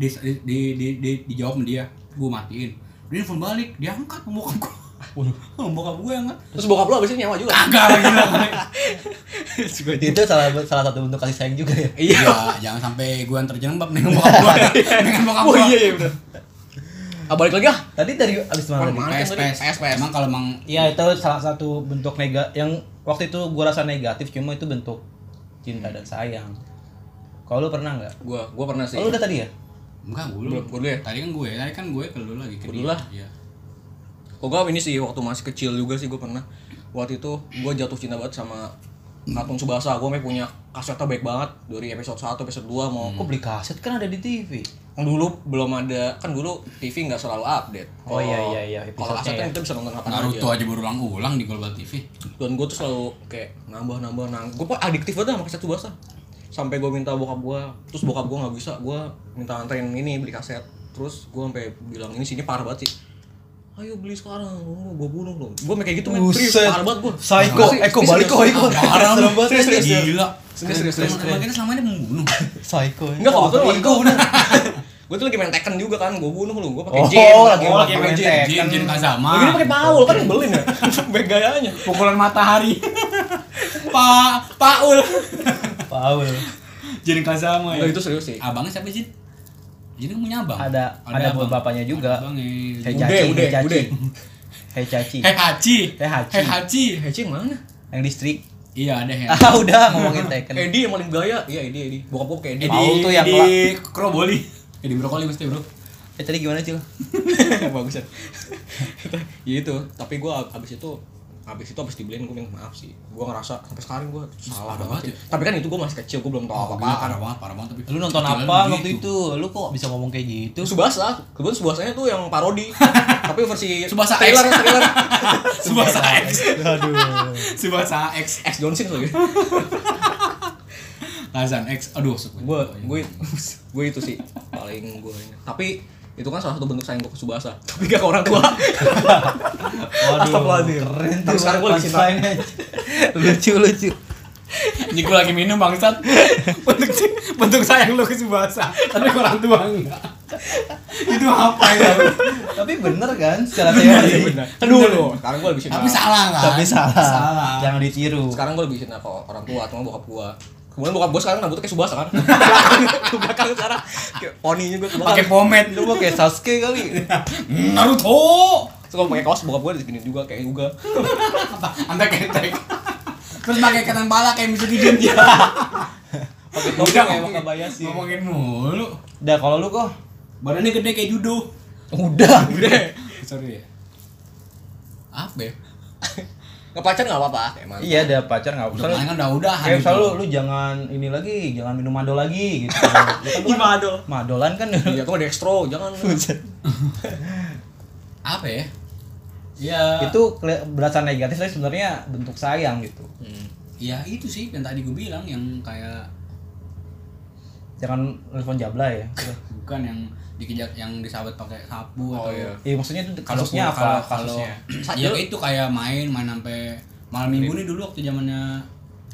Speaker 3: di di di, di, di- dijawab sama dia gue matiin dia telepon balik dia angkat bokap gue waduh bokap gue yang angkat
Speaker 2: Terus bokap lu abis ini nyawa juga.
Speaker 3: kagak lagi lah
Speaker 2: Juga
Speaker 1: Itu salah salah satu bentuk kasih sayang juga ya.
Speaker 3: iya jangan sampai gue yang terjerembab dengan bokap gue dengan bokap
Speaker 2: Oh
Speaker 3: gue
Speaker 2: iya iya benar. Ah balik lagi ah.
Speaker 1: Tadi dari abis mana?
Speaker 2: Mana
Speaker 3: PS,
Speaker 2: yang tadi?
Speaker 3: PS,
Speaker 2: PS, PS.
Speaker 3: Emang kalau emang
Speaker 1: Iya, itu salah satu bentuk nega yang waktu itu gua rasa negatif cuma itu bentuk cinta dan sayang. Kalau lu pernah nggak?
Speaker 2: Gua gua pernah sih.
Speaker 1: Oh, lu udah tadi ya?
Speaker 3: enggak gue
Speaker 2: Belum, gua dulu ya?
Speaker 3: Tadi kan gue, tadi kan gue ke lu lagi ke
Speaker 2: Gua
Speaker 3: dia.
Speaker 2: dulu lah.
Speaker 3: Iya.
Speaker 2: Oh gua ini sih waktu masih kecil juga sih gua pernah. Waktu itu gua jatuh cinta banget sama Katun Subasa. Gua memang punya kasetnya baik banget dari episode 1 episode 2 mau
Speaker 1: Kok beli kaset kan ada di TV.
Speaker 2: Yang dulu belum ada kan dulu TV nggak selalu update.
Speaker 1: Oh, iya, iya, iya, episode-nya
Speaker 2: Kalau kaset kan
Speaker 1: ya.
Speaker 2: kita bisa nonton kapan
Speaker 3: Naruto
Speaker 2: aja.
Speaker 3: aja berulang-ulang di Global TV.
Speaker 2: Dan gua tuh selalu kayak nambah nambah nambah. Gua kok adiktif banget sama kaset Subasa. Sampai gua minta bokap gua, terus bokap gua nggak bisa, gua minta anterin ini beli kaset. Terus gua sampai bilang ini sini parah banget sih. Ayo beli sekarang, oh, gua bunuh dong. Gua kayak gitu main serius,
Speaker 1: Buset.
Speaker 2: parah banget gua.
Speaker 1: Psycho,
Speaker 2: Serius,
Speaker 1: Eko
Speaker 2: serius.
Speaker 1: balik kok, Eko.
Speaker 3: Parah
Speaker 1: Serem banget.
Speaker 2: iya.
Speaker 3: serius,
Speaker 2: serius, serius.
Speaker 3: gila.
Speaker 2: Serius, serius,
Speaker 3: Emang-
Speaker 2: serius.
Speaker 3: Emang kita selama ini membunuh.
Speaker 1: Psycho. ya.
Speaker 2: Enggak,
Speaker 1: Wah,
Speaker 2: kebetulan waktu
Speaker 1: tapi-
Speaker 2: itu bener Gue tuh lagi main Tekken juga kan, gue bunuh lu, gue pakai
Speaker 1: Oh,
Speaker 2: Jin
Speaker 1: lagi-
Speaker 2: Oh,
Speaker 1: lagi main Tekken.
Speaker 3: Jin, Jin Kazama.
Speaker 2: Lagi dia pakai Paul, kan belin ya Baik gayanya
Speaker 3: pukulan matahari. Pak Paul.
Speaker 1: Paul.
Speaker 3: Jin Kazama
Speaker 2: Nah, itu serius sih
Speaker 3: Oh, Abangnya siapa Jin? Jin kan punya abang.
Speaker 1: Ada ada
Speaker 3: abang.
Speaker 1: bapaknya juga.
Speaker 3: Ada abangnya.
Speaker 1: Hei
Speaker 2: Ude,
Speaker 1: Caci,
Speaker 2: Ude,
Speaker 1: Hei Caci. Hei Caci.
Speaker 2: Ude
Speaker 3: Hei Haji.
Speaker 1: Hei Haji.
Speaker 3: Hei Haji.
Speaker 2: Heci Eh, yang mana?
Speaker 1: Yang listrik.
Speaker 3: Iya ada Hei.
Speaker 1: Ah, udah ngomongin Tekken.
Speaker 2: Edi yang paling gaya Kan Iya, Edi, Edi Bokap gue kayak Edi
Speaker 1: Paul
Speaker 3: Di-
Speaker 1: tuh yang
Speaker 3: di
Speaker 1: kelak.
Speaker 3: Kroboli. Eh di brokoli mesti bro.
Speaker 1: Eh tadi gimana, Cil?
Speaker 2: Bagus ya Ya itu, tapi gue abis itu habis itu habis dibeliin gue minta maaf sih gue ngerasa sampai sekarang gue salah banget
Speaker 3: parah banget
Speaker 2: ya. tapi kan itu gue masih kecil gue belum tahu apa apa
Speaker 3: Gila,
Speaker 2: kan
Speaker 3: parah banget, parah banget. Tapi
Speaker 1: Lu nonton
Speaker 3: Kecuali
Speaker 1: apa
Speaker 3: begitu.
Speaker 1: waktu itu? Lu kok bisa ngomong kayak gitu?
Speaker 2: Subasa kebetulan Subasanya tuh yang parodi tapi versi
Speaker 3: Subasa
Speaker 2: trailer
Speaker 3: X.
Speaker 2: trailer
Speaker 3: Subasa X.
Speaker 1: Aduh.
Speaker 3: Subasa X.
Speaker 2: X Johnson lagi
Speaker 3: Lazan X. Aduh, Iya. suka.
Speaker 2: gue gue gue itu sih paling gue ini. tapi itu kan salah satu bentuk sayang gue ke Subasa tapi gak ke orang tua
Speaker 1: Waduh.
Speaker 2: Astagfirullahaladzim.
Speaker 1: Keren tuh.
Speaker 2: Tapi sekarang gua lagi
Speaker 1: punchline-nya. lucu lucu.
Speaker 3: Ini gue lagi minum bangsat. bentuk bentuk sayang lu ke Subasa. Tapi ke orang tua enggak. itu apa ya? Iya,
Speaker 1: Tapi bener kan secara teori.
Speaker 2: aduh lu sekarang gue lebih cinta
Speaker 3: Tapi salah Ya. kan?
Speaker 1: Tapi salah.
Speaker 3: Salah.
Speaker 1: Jangan ditiru.
Speaker 2: sekarang gue lebih cinta ke orang tua atau bokap gue kemudian bokap gue sekarang rambutnya kayak Subasa kan ke belakang sekarang kayak poninya gue ke
Speaker 3: Pakai
Speaker 2: belakang
Speaker 3: pomade.
Speaker 1: Lu mau kayak Sasuke kali.
Speaker 3: Naruto.
Speaker 2: terus gue pakai kaos bokap gue segini juga kayak juga
Speaker 3: Anda ketek. Terus pakai ketan pala kayak Mr. Gideon. Ya.
Speaker 2: pakai topi
Speaker 3: Udah
Speaker 2: kayak
Speaker 3: ngomongin,
Speaker 2: Wakabaya sih
Speaker 3: ngomongin mulu.
Speaker 1: Dah kalau lu kok
Speaker 3: Badannya gede kayak judo.
Speaker 2: udah
Speaker 3: Gede. Sorry ya. Apa ya?
Speaker 2: ngepacar nggak apa-apa emang
Speaker 1: Iya ada pacar nggak?
Speaker 3: Udah
Speaker 1: Misalnya-
Speaker 3: palingan udah udahan.
Speaker 1: Kayak
Speaker 3: gitu.
Speaker 1: misalnya lu, lu jangan ini lagi, jangan minum mado lagi gitu.
Speaker 2: gimana dong
Speaker 1: Madolan kan.
Speaker 2: iya tuh dextro jangan
Speaker 3: apa ya?
Speaker 2: Iya.
Speaker 3: Ya.
Speaker 1: itu keli- berasa negatif tapi sebenarnya bentuk sayang gitu.
Speaker 2: Hmm.
Speaker 3: Ya itu sih yang tadi gue bilang yang kayak
Speaker 1: Jangan telepon jabla ya.
Speaker 3: bukan yang dikejak yang disahabat pakai
Speaker 2: Oh,
Speaker 3: sapu atau
Speaker 2: iya.
Speaker 1: Iya maksudnya itu
Speaker 3: kalau
Speaker 1: kasusnya
Speaker 3: kalau-
Speaker 1: apa
Speaker 3: kalau
Speaker 1: kasusnya?
Speaker 3: ya itu kayak main main sampai malam minggu nih dulu waktu zamannya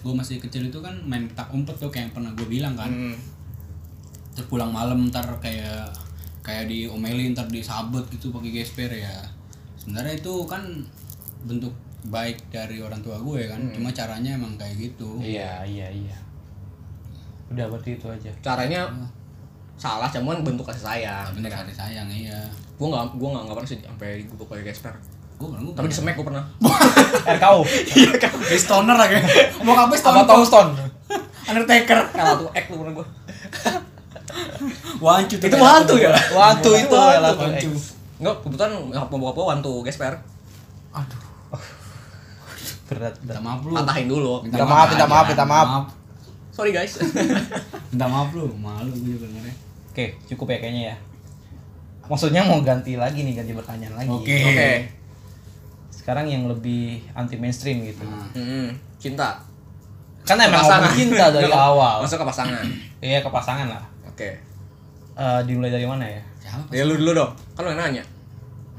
Speaker 3: gue masih kecil itu kan main petak umpet tuh kayak yang pernah gue bilang kan
Speaker 2: Hmm.
Speaker 3: terus pulang malam ntar kayak kayak diomelin ntar disabet gitu pakai gesper ya sebenarnya itu kan bentuk baik dari orang tua gue kan cuma caranya emang kayak gitu
Speaker 1: Iya iya iya. Udah berarti itu aja.
Speaker 2: caranya salah cuman bentuk kasih sayang
Speaker 3: bener kasih sayang iya
Speaker 2: gue nggak gue nggak nggak pernah sih sampai digubuk kayak gesper
Speaker 3: gue pernah gue
Speaker 2: tapi di semek gue pernah
Speaker 1: RKO.
Speaker 3: stoner lagi mau
Speaker 1: Apa
Speaker 3: apa stoner
Speaker 1: Tombstone?
Speaker 3: Undertaker
Speaker 2: kalah tuh ek tuh pernah gue
Speaker 3: wancu
Speaker 2: itu mah hantu ya
Speaker 1: Wantu itu
Speaker 2: Wantu.
Speaker 1: Elakon X.
Speaker 2: nggak kebetulan nyokap bokap gue wantu gesper
Speaker 3: aduh
Speaker 1: Berat.
Speaker 3: minta maaf lu
Speaker 2: patahin dulu
Speaker 1: Minta maaf, minta
Speaker 3: aja,
Speaker 1: maaf, minta maaf.
Speaker 2: sorry guys
Speaker 3: minta maaf lu malu gue juga dengernya
Speaker 1: Oke, cukup ya kayaknya ya. Maksudnya mau ganti lagi nih, ganti pertanyaan lagi.
Speaker 3: Oke.
Speaker 2: oke
Speaker 1: Sekarang yang lebih anti mainstream gitu.
Speaker 3: Nah,
Speaker 2: Mm-mm. cinta
Speaker 1: Kan emang ngomong cinta dari
Speaker 2: Nggak,
Speaker 1: awal.
Speaker 2: masuk ke pasangan
Speaker 1: Iya, ke pasangan lah.
Speaker 2: oke
Speaker 1: Eh, dimulai dari mana ya?
Speaker 3: siapa
Speaker 2: ya lu dulu dong kan lu yang nanya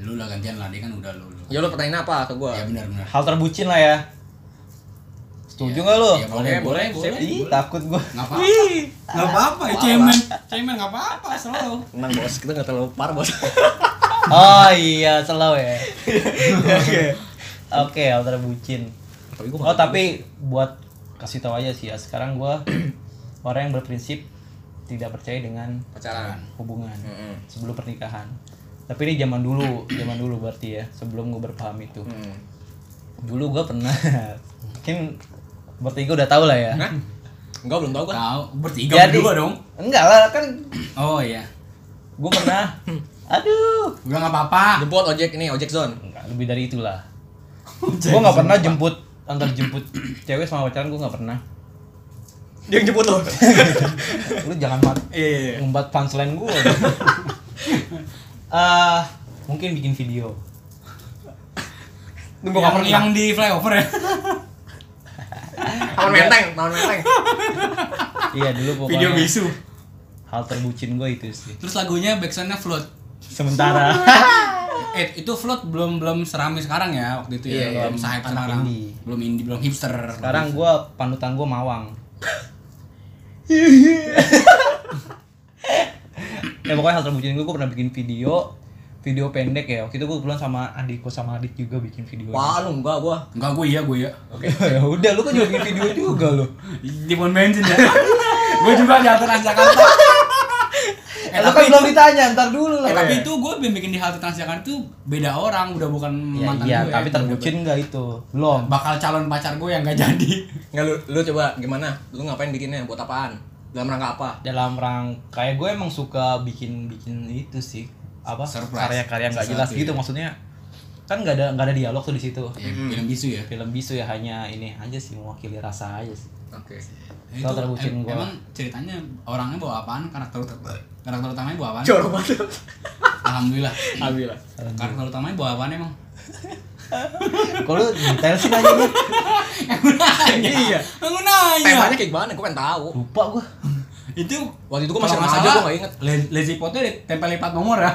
Speaker 3: lu lah gantian lah dia kan udah lu lu
Speaker 2: ya lu pertanyaan apa ke gue
Speaker 3: ya benar benar
Speaker 1: Hal terbucin lah ya. Setuju nggak lu? Iya.
Speaker 3: ya boleh
Speaker 2: Oke,
Speaker 3: boleh
Speaker 2: boleh,
Speaker 3: boleh
Speaker 1: Ih, takut gua.
Speaker 3: nggak apa apa nggak apa apa ya cemen cemen nggak apa apa selalu
Speaker 2: Tenang bos, kita gak terlalu par bos
Speaker 1: Oh iya, selalu ya.
Speaker 2: Oke
Speaker 1: Oke, hal terbucin.
Speaker 2: Tapi gue
Speaker 1: Oh, tapi buat kasih tahu aja sih ya. Sekarang gua orang yang berprinsip tidak percaya dengan
Speaker 2: pacaran
Speaker 1: hubungan
Speaker 2: Mm-mm.
Speaker 1: sebelum pernikahan. Tapi ini zaman dulu, zaman dulu berarti ya, sebelum gue berpaham itu.
Speaker 2: Hmm.
Speaker 1: Dulu gue pernah, mungkin bertiga udah tau lah ya.
Speaker 2: Hah? Enggak belum tau gue
Speaker 3: tahu bertiga berdua dong
Speaker 1: Enggak lah, kan
Speaker 3: oh iya
Speaker 1: gue pernah, aduh,
Speaker 3: udah nggak apa apa
Speaker 2: Jemput ojek ini, ojek zone
Speaker 1: enggak lebih dari itulah. gue nggak pernah jemput antar jemput cewek sama pacaran gue nggak pernah.
Speaker 2: Dia yang jemput lo
Speaker 1: Lu jangan mat
Speaker 2: Iya iya iya
Speaker 1: ngumpat punchline gue. Eh, mungkin bikin video.
Speaker 2: Nunggu
Speaker 3: yang,
Speaker 2: kamar
Speaker 3: yang di flyover ya
Speaker 2: Taman menteng, taman menteng
Speaker 1: Iya dulu pokoknya.
Speaker 3: video bisu
Speaker 1: Hal terbucin gue itu sih.
Speaker 3: terus lagunya backsoundnya float
Speaker 1: Sementara.
Speaker 3: Eh, itu float belum belum serami sekarang ya waktu itu
Speaker 2: Iya,
Speaker 3: ya.
Speaker 2: iya,
Speaker 3: belum hype
Speaker 1: anak
Speaker 3: sekarang.
Speaker 1: indie.
Speaker 3: Belum indie, belum hipster.
Speaker 1: Sekarang gue panutan gue mawang. ya pokoknya hal terbucin gue, gue pernah bikin video video pendek ya waktu itu gue pulang sama adikku sama adik juga bikin video
Speaker 2: Wah lu enggak gue
Speaker 3: enggak gue iya gue ya.
Speaker 1: ya udah lu kan juga bikin video juga lo
Speaker 3: Di pon bensin ya. gue juga di atas Transjakarta. eh,
Speaker 1: eh, lu kan
Speaker 3: tapi
Speaker 1: belum ditanya ntar dulu lah Ya,
Speaker 3: eh, tapi itu gue yang bikin di halte Transjakarta itu beda orang, udah bukan
Speaker 1: ya,
Speaker 3: mantan
Speaker 1: iya
Speaker 3: gue.
Speaker 1: tapi
Speaker 3: Udah
Speaker 1: terbucin nggak itu belum
Speaker 3: bakal calon pacar gue yang gak jadi.
Speaker 2: Enggak lu, lu coba gimana? Lu ngapain bikinnya? Buat apaan? Dalam rangka apa?
Speaker 1: dalam rangka kayak gue emang suka bikin bikin itu sih apa
Speaker 3: Surprise.
Speaker 1: karya-karya nggak jelas
Speaker 3: Sesuatu,
Speaker 1: gitu
Speaker 3: ya.
Speaker 1: maksudnya kan nggak ada nggak ada dialog tuh di situ
Speaker 3: Ya, film bisu ya
Speaker 1: film bisu ya hanya ini aja sih mewakili rasa aja sih
Speaker 2: Oke.
Speaker 3: Ya,
Speaker 1: Tau terbucin
Speaker 3: em-
Speaker 1: gua.
Speaker 3: emang ceritanya orangnya bawa apaan karakter ut- karakter utamanya bawa apaan
Speaker 2: Jorok banget.
Speaker 3: alhamdulillah
Speaker 2: Alhamdulillah.
Speaker 3: karakter utamanya bawa apaan emang
Speaker 1: kalau lu detail sih nanya gua.
Speaker 2: Iya.
Speaker 3: aku nanya
Speaker 2: Temanya kayak gimana? Gue pengen tahu.
Speaker 1: lupa gua
Speaker 3: itu
Speaker 2: Waktu itu gue masih remaja, gue gak inget.
Speaker 3: lazy potnya ditempel lipat nomor ya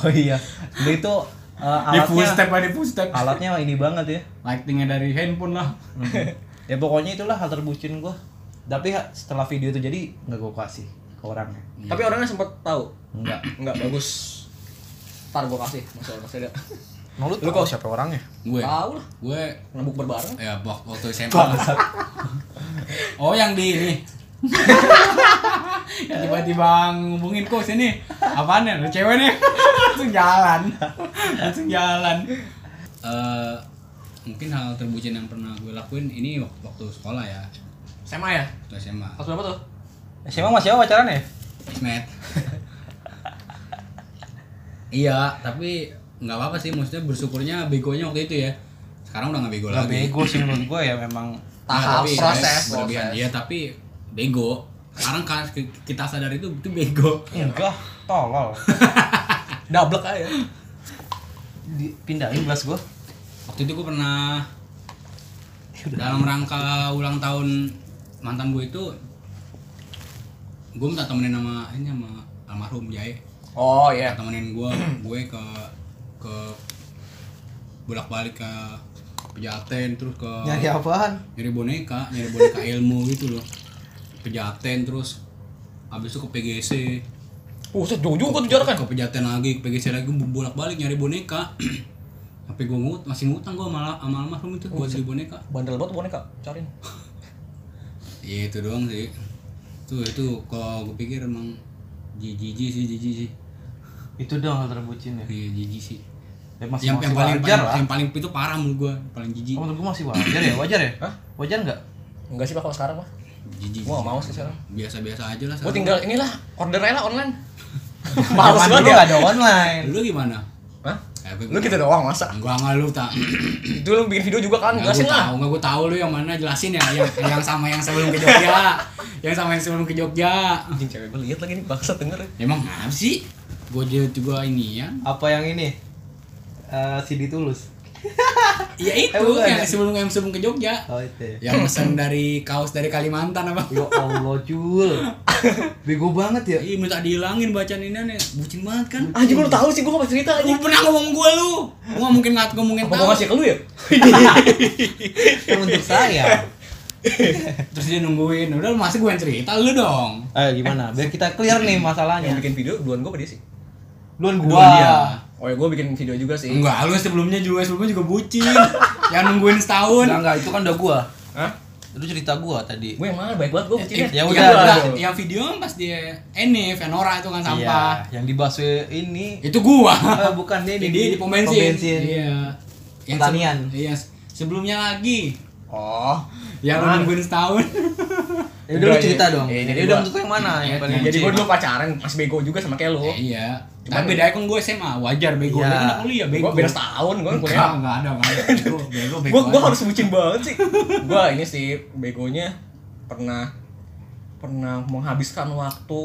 Speaker 1: oh iya Dia itu eh,
Speaker 3: di full
Speaker 1: alatnya
Speaker 3: step di full step
Speaker 1: alatnya ini banget ya
Speaker 3: lightingnya dari handphone lah
Speaker 1: ya pokoknya itulah hal terbucin gua tapi ha- setelah video itu jadi nggak gua kasih ke orangnya
Speaker 2: Tapi orangnya sempat tahu.
Speaker 1: enggak
Speaker 2: Iya. Enggak bagus. Ntar gue kasih. Masih ada. Masih ada.
Speaker 1: Nah, lu
Speaker 2: Lu
Speaker 1: tahu
Speaker 2: kok-
Speaker 1: siapa orangnya?
Speaker 3: gue
Speaker 2: Tahu lah.
Speaker 3: gue
Speaker 2: Ngebuk berbareng.
Speaker 3: ya wak- waktu SMA lah. oh yang di ini yang tiba-tiba ngubungin kok sini apaan ya ada cewek nih langsung jalan langsung jalan Eh, mungkin hal terbucin yang pernah gue lakuin ini wak- waktu sekolah ya
Speaker 2: SMA ya?
Speaker 3: waktu SMA
Speaker 2: Kelas berapa tuh?
Speaker 1: Siapa mas siapa pacaran ya?
Speaker 3: Ismet iya tapi nggak apa-apa sih maksudnya bersyukurnya begonya waktu itu ya sekarang udah nggak bego
Speaker 1: Gak
Speaker 3: lagi
Speaker 1: bego sih menurut gue ya memang
Speaker 2: Tahap
Speaker 3: Nah, tapi
Speaker 2: proses,
Speaker 3: saya berlebihan.
Speaker 2: proses.
Speaker 3: Iya, tapi bego. Sekarang kan kita sadar itu itu bego.
Speaker 1: enggak Iya, tolol
Speaker 2: Dablek aja.
Speaker 1: dipindahin gelas gue
Speaker 3: Waktu itu gue pernah dalam rangka ulang tahun mantan gue itu gue minta temenin sama ini sama almarhum Jae.
Speaker 2: Oh iya.
Speaker 3: Temenin gue gue ke ke bolak-balik ke Pejaten terus ke
Speaker 2: Ya,
Speaker 1: nyari apaan
Speaker 3: nyari boneka, nyari boneka ilmu gitu loh. Pejaten terus habis itu ke PGC,
Speaker 2: Buset, jauh juga tuh kan. jaraknya.
Speaker 3: ke pejaten lagi ke PGC lagi bolak balik nyari boneka tapi gue ngut masih ngutang gue malah sama almarhum itu buat beli boneka
Speaker 2: Bandel banget boneka, cariin.
Speaker 3: ya itu doang sih tuh itu kalau gue pikir emang jijiji sih jijiji sih
Speaker 1: itu dong hal terbucin ya
Speaker 3: iya jijiji sih
Speaker 1: ya masih,
Speaker 3: yang,
Speaker 1: masih
Speaker 3: yang paling,
Speaker 1: wajar
Speaker 3: paling-
Speaker 1: lah
Speaker 3: yang paling itu parah menurut gue paling jijik
Speaker 1: Oh, menurut gue masih wajar ya wajar ya wajar nggak
Speaker 2: Enggak sih bakal sekarang mah.
Speaker 3: jijik
Speaker 2: Gua nggak mau sih sekarang.
Speaker 3: biasa biasa aja lah
Speaker 2: Gua
Speaker 3: sekarang.
Speaker 2: tinggal inilah, order aja lah online. Males
Speaker 1: Zaman
Speaker 2: banget
Speaker 1: dulu
Speaker 2: ya.
Speaker 1: nggak ada online
Speaker 3: lu gimana
Speaker 2: Hah?
Speaker 3: Eh, gue-
Speaker 2: Lu gitu doang masa?
Speaker 3: enggak enggak lu tak
Speaker 2: Itu lu bikin video juga kan,
Speaker 3: Enggak gue
Speaker 2: jelasin lah.
Speaker 3: tahu, enggak gue tahu lu yang mana jelasin ya yang yang sama yang sebelum ke Jogja. yang sama yang sebelum ke Jogja.
Speaker 2: Anjing cewek gue lihat lagi nih, bangsa denger. ya.
Speaker 3: Emang kenapa sih? Gue juga ini ya.
Speaker 1: apa yang ini Eh CD tulus
Speaker 3: Ya itu
Speaker 1: Eh, bukan,
Speaker 3: yang
Speaker 1: ya?
Speaker 3: sebelum yang sebelum ke Jogja.
Speaker 1: oh itu ya
Speaker 3: Yang pesan dari kaos dari Kalimantan apa?
Speaker 1: ya Allah Jul bego banget ya
Speaker 3: Ih minta dihilangin bacaan ini nih, bucin banget kan?
Speaker 2: Anjing lu tahu sih gua enggak cerita
Speaker 3: Lu
Speaker 2: anjing.
Speaker 3: pernah ngomong gue lu, gue nggak mungkin nggak ngomongin
Speaker 2: Apa
Speaker 3: tahu.
Speaker 2: gua ngasih ke lu ya?
Speaker 1: Itu untuk saya
Speaker 3: Terus dia nungguin, udah lu masih gue yang cerita lu dong.
Speaker 1: eh gimana biar kita clear nih
Speaker 2: Yang
Speaker 1: masalahnya
Speaker 2: bikin video duluan gua apa dia sih?
Speaker 1: duluan
Speaker 3: Duluan dia.
Speaker 1: gua
Speaker 2: Oh ya gua bikin video juga sih.
Speaker 3: Enggak, lu sebelumnya juga sebelumnya juga bucin. yang nungguin setahun.
Speaker 1: enggak enggak itu kan udah gua
Speaker 2: Hah?
Speaker 1: itu cerita gua tadi
Speaker 2: Gua yang mana? Baik banget gua Iya, bucinnya.
Speaker 1: ya
Speaker 3: Yang
Speaker 1: udah,
Speaker 3: udah, Iya.
Speaker 1: udah.
Speaker 3: yang video kan pas dia Enif, Enora itu kan sampah.
Speaker 1: Iya, yang di busway ini
Speaker 3: Itu gua.
Speaker 1: Eh, bukan dia
Speaker 3: Jadi di pom bensin. Iya.
Speaker 1: Pertanian.
Speaker 3: se- iya. se- Sebelumnya lagi.
Speaker 2: Oh.
Speaker 3: Yang lu
Speaker 2: Apaan?
Speaker 3: nungguin setahun.
Speaker 1: Ya udah lu
Speaker 2: Udah,
Speaker 1: cerita
Speaker 2: iya.
Speaker 1: dong.
Speaker 2: Iya,
Speaker 1: Ya,
Speaker 2: jadi
Speaker 1: udah
Speaker 2: gua-
Speaker 1: menurut lu yang mana yang
Speaker 3: Iya,
Speaker 1: paling
Speaker 2: Jadi
Speaker 1: bucin?
Speaker 2: gua dulu pacaran, masih bego juga sama kayak lu.
Speaker 3: Eh, iya.
Speaker 2: Cuman-
Speaker 3: Tapi bedanya kan gue SMA, wajar bego.
Speaker 1: Iya.
Speaker 3: Lu anak kuliah bego.
Speaker 2: Gua beda setahun gua kan kuliah.
Speaker 3: Enggak, enggak ada, enggak ada. Bego, bego, bego.
Speaker 2: gua gua
Speaker 3: aja.
Speaker 2: harus bucin banget sih gua ini sih begonya pernah pernah menghabiskan waktu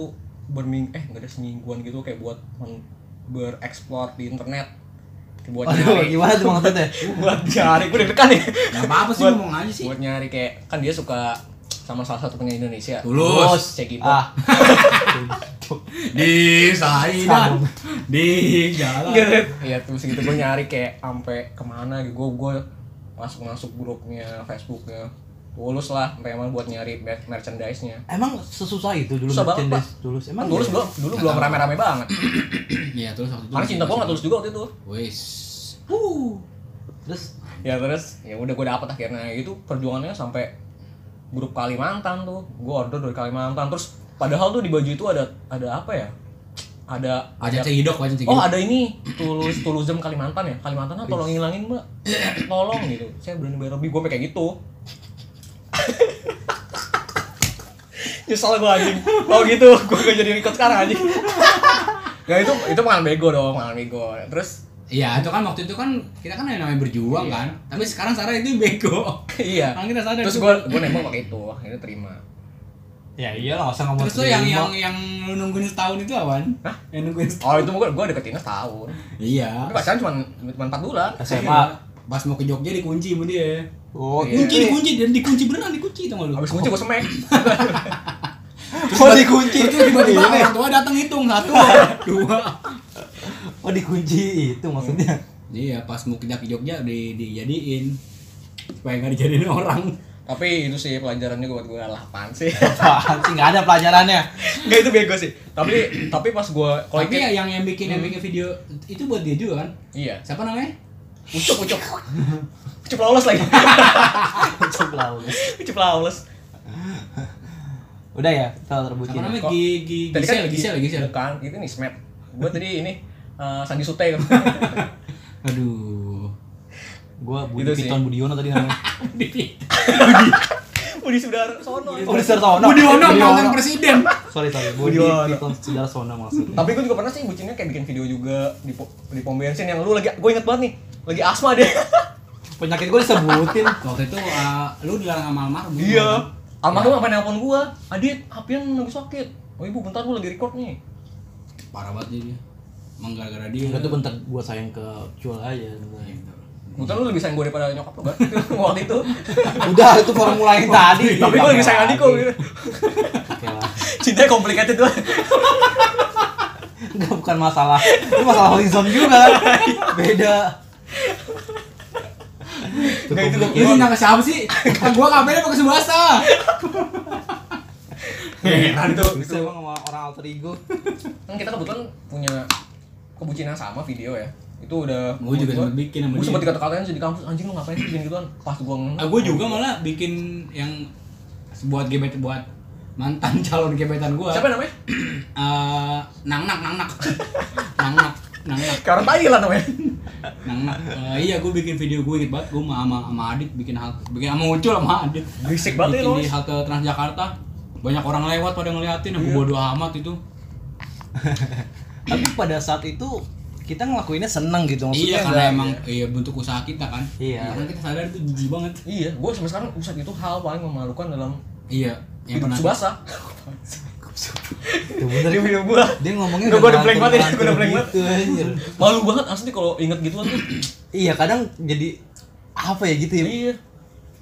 Speaker 2: berming eh nggak ada semingguan gitu kayak buat men- bereksplor di internet buat
Speaker 1: Waduh,
Speaker 2: nyari
Speaker 1: gimana tuh maksudnya?
Speaker 2: buat nyari gue deg-degan ya
Speaker 3: Gak apa-apa sih
Speaker 2: Buat-
Speaker 3: ngomong aja sih.
Speaker 2: buat nyari kayak kan dia suka sama salah satu penyanyi Indonesia
Speaker 3: Tulus.
Speaker 2: cek itu
Speaker 1: Ah,
Speaker 3: Di Saida. Di jalan.
Speaker 2: Iya terus gitu gue nyari kayak sampai kemana gitu gue gue masuk masuk grupnya Facebooknya tulus lah memang buat nyari mer- merchandise-nya
Speaker 1: emang sesusah itu dulu
Speaker 2: Susah banget,
Speaker 1: merchandise tulus.
Speaker 2: Emang
Speaker 1: Emang
Speaker 2: tulus
Speaker 1: iya?
Speaker 2: belum dulu belum rame-rame banget.
Speaker 3: Iya, terus waktu itu.
Speaker 2: Karena cinta gua
Speaker 3: gak
Speaker 2: nggak tulus juga waktu itu.
Speaker 3: Wes.
Speaker 1: Terus
Speaker 2: Ya terus ya udah gua dapet akhirnya itu perjuangannya sampai grup Kalimantan tuh. Gua order dari Kalimantan terus padahal tuh di baju itu ada ada apa ya? Ada
Speaker 3: Wajan
Speaker 2: ada
Speaker 3: cegidok, wajan cegidok.
Speaker 2: Oh ada ini tulus tulusem Kalimantan ya Kalimantan ah, tolong ngilangin mbak tolong gitu saya berani bayar lebih gue kayak gitu nyesel gue anjing oh gitu Ya, gue gak jadi ikut sekarang anjing Gak itu itu makan bego dong makan bego terus
Speaker 3: Iya, itu kan waktu itu kan kita kan yang namanya berjuang kan. Tapi sekarang Sarah itu bego.
Speaker 2: iya
Speaker 3: Kan kita sadar.
Speaker 2: terus gue gue nembak pakai itu akhirnya terima
Speaker 1: ya iyalah nggak usah ngomong
Speaker 3: Terus tuh yang yang yang lu nungguin setahun itu apaan? Yang nungguin setahun.
Speaker 2: oh itu gue gue deketinnya setahun
Speaker 3: Iya.
Speaker 2: tapi pacaran cuma cuma empat bulan
Speaker 1: SMA
Speaker 3: Pas mau ke Jogja dikunci sama dia.
Speaker 1: oh
Speaker 2: Iya.
Speaker 3: Kunci dikunci dan dikunci beneran dikunci tau gak lu?
Speaker 2: habis muncul gue semek
Speaker 1: oh dikunci Iya.
Speaker 3: Terus tiba-tiba orang tua datang hitung satu, Iya. dua.
Speaker 1: oh dikunci itu maksudnya
Speaker 3: Iya, pas mau kerja ke Jogja di dijadiin supaya nggak dijadiin orang.
Speaker 2: tapi itu sih pelajarannya buat gue lah apaan sih
Speaker 1: apaan sih nggak ada pelajarannya
Speaker 2: nggak itu bego sih tapi tapi pas gue kalau
Speaker 3: Tapi
Speaker 2: inget-
Speaker 3: ya yang yang bikin yang bikin video itu buat dia juga kan?
Speaker 2: iya
Speaker 3: Siapa namanya?
Speaker 2: ucup ucup ucup lolos lagi ucup lolos
Speaker 1: udah ya salah
Speaker 3: Siapa
Speaker 1: terbucin
Speaker 3: namanya?
Speaker 2: Kok-
Speaker 3: Gigi
Speaker 2: kan
Speaker 3: Gisel, Gisel, Gisel.
Speaker 2: iya. bukan itu nih smet gue tadi ini eh, Sandi Sute kan
Speaker 3: Aduh.
Speaker 1: gue Budi
Speaker 2: Itu sih.
Speaker 1: Piton Budiono tadi namanya
Speaker 2: Budi Sudar Sono
Speaker 1: Oh, Budi Sartono
Speaker 3: Budi Ono mantan presiden.
Speaker 1: sorry sorry Budi
Speaker 2: Budiono.
Speaker 1: Piton Sudar Sono maksudnya
Speaker 2: tapi gue juga pernah sih bucinnya kayak bikin video juga di, po- di pom bensin yang lu lagi gue inget banget nih lagi asma deh
Speaker 1: penyakit gue disebutin
Speaker 3: Waktu itu uh, lu dilarang sama almarhum.
Speaker 2: iya almarhum apa nelpon gue adit hapian lagi sakit oh ibu bentar gue lagi record nih
Speaker 3: Parah banget dia. Emang gara-gara dia. Gitu.
Speaker 1: itu bentar gue sayang ke cul aja sebenarnya.
Speaker 2: Kebetulan lu lebih sayang gue daripada nyokap lu kan waktu itu.
Speaker 1: udah itu formula yang
Speaker 3: Iya,
Speaker 1: tadi
Speaker 2: Tapi gue lebih sayang adik
Speaker 1: kok
Speaker 2: gue. gitu.
Speaker 1: oke lah
Speaker 2: Cintanya complicated lah.
Speaker 1: Enggak bukan masalah. Ini masalah horizon juga. Beda.
Speaker 2: Enggak itu
Speaker 3: Lu cinta ke siapa sih? Kan gua kampanye pakai subasa.
Speaker 2: Heran tuh.
Speaker 3: Gitu.
Speaker 1: Bisa emang sama orang alter ego.
Speaker 2: Kan kita kebetulan punya kebucinan sama video ya. Itu udah
Speaker 3: Gua juga sempet bikin sama
Speaker 2: Gue
Speaker 3: dia.
Speaker 2: sempat dikata-katain sih di kampus anjing lu ngapain sih bikin gituan. Pas gue ngomong.
Speaker 3: Ah, gua juga malah bikin yang buat gebet buat mantan calon gebetan gua.
Speaker 2: Siapa namanya?
Speaker 3: Eh, nang nak nang nak. Nang nak nang nak
Speaker 2: Karena Thailand namanya.
Speaker 3: nang nak. Eh, iya gua bikin video gua inget banget gua sama sama, sama Adit bikin hal bikin sama Ucul sama Adit.
Speaker 2: Berisik banget ya
Speaker 3: Bikin
Speaker 2: lu.
Speaker 3: di halte Transjakarta. Banyak orang lewat pada ngeliatin
Speaker 2: Iya.
Speaker 3: aku bodo amat itu.
Speaker 1: Tapi pada saat itu kita ngelakuinnya seneng gitu
Speaker 3: Iya
Speaker 1: maksudnya.
Speaker 3: karena
Speaker 1: enggak-
Speaker 3: emang iya bentuk usaha kita kan.
Speaker 1: Iya.
Speaker 3: Karena kita sadar itu jijik banget.
Speaker 2: Iya, gue sampai sekarang usah itu hal paling memalukan dalam
Speaker 3: Iya. Yang
Speaker 2: hidup
Speaker 3: pernah
Speaker 2: Subasa.
Speaker 1: Tuh, bener.
Speaker 2: Dari video gue.
Speaker 1: Dia ngomongnya
Speaker 2: Udah, gua udah blank banget ini,
Speaker 1: ngelantur-
Speaker 2: gua udah blank banget.
Speaker 1: gitu, anjir.
Speaker 2: Malu banget asli kalau inget gituan tuh.
Speaker 1: Iya, kadang jadi apa ya gitu ya.
Speaker 2: Iya.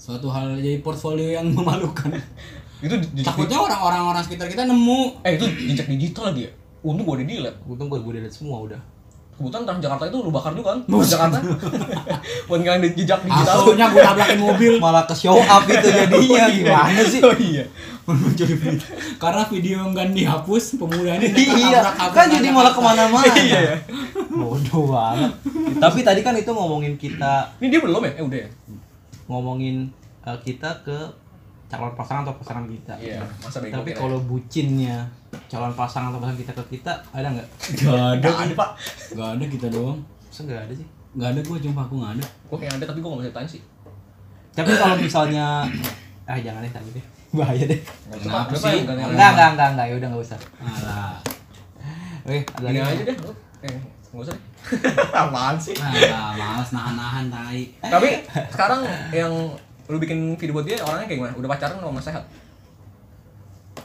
Speaker 3: suatu hal jadi portfolio yang memalukan.
Speaker 2: Itu di- di-
Speaker 3: Takutnya orang-orang orang sekitar kita nemu.
Speaker 2: Eh itu jejak digital lagi ya? Untung gue ada di lab
Speaker 1: Untung gue gue delete semua udah.
Speaker 2: Kebetulan Transjakarta itu lu bakar juga kan? Transjakarta Buat ngilangin jejak digital
Speaker 3: Asuhnya gue tabrakin mobil.
Speaker 1: Malah ke show up itu jadinya gimana sih?
Speaker 2: Oh iya
Speaker 3: Jadi berita. Karena video yang gak dihapus, pemuda ini nekat
Speaker 1: iya,
Speaker 3: tabrak-tabrak
Speaker 1: kan jadi
Speaker 3: anak.
Speaker 1: malah kemana-mana. Iya. Bodoh banget. Tapi tadi kan itu ngomongin kita
Speaker 2: Ini dia belum ya? Eh udah ya?
Speaker 1: ngomongin uh, kita ke calon pasangan atau pasangan kita.
Speaker 2: Iya Masa bego
Speaker 1: Tapi
Speaker 2: kita ya.
Speaker 1: kalau bucinnya calon pasangan atau pasangan kita ke kita ada nggak?
Speaker 3: Gak
Speaker 2: ya?
Speaker 3: ada,
Speaker 2: Nggak ada pak
Speaker 3: gak ada kita doang.
Speaker 1: Masa nggak ada sih?
Speaker 3: Gak ada gue jumpa aku gak ada.
Speaker 2: Gue kayak ada tapi gue gak bisa tanya sih
Speaker 1: Tapi kalau misalnya ah jangan deh tadi deh. Bahaya deh.
Speaker 2: Nggak usah,
Speaker 3: Kenapa
Speaker 2: Pak.
Speaker 3: sih?
Speaker 2: Nggak usah,
Speaker 1: Enggak, enggak, enggak, enggak. Ya udah enggak usah.
Speaker 3: Alah,
Speaker 1: Oke, ada
Speaker 2: Gini
Speaker 1: lagi.
Speaker 2: aja deh lu. Eh nggak usah deh Apaan sih?
Speaker 3: alah, males nahan-nahan tai.
Speaker 2: Tapi sekarang yang lu bikin video buat dia orangnya kayak gimana? Udah pacaran sama sehat?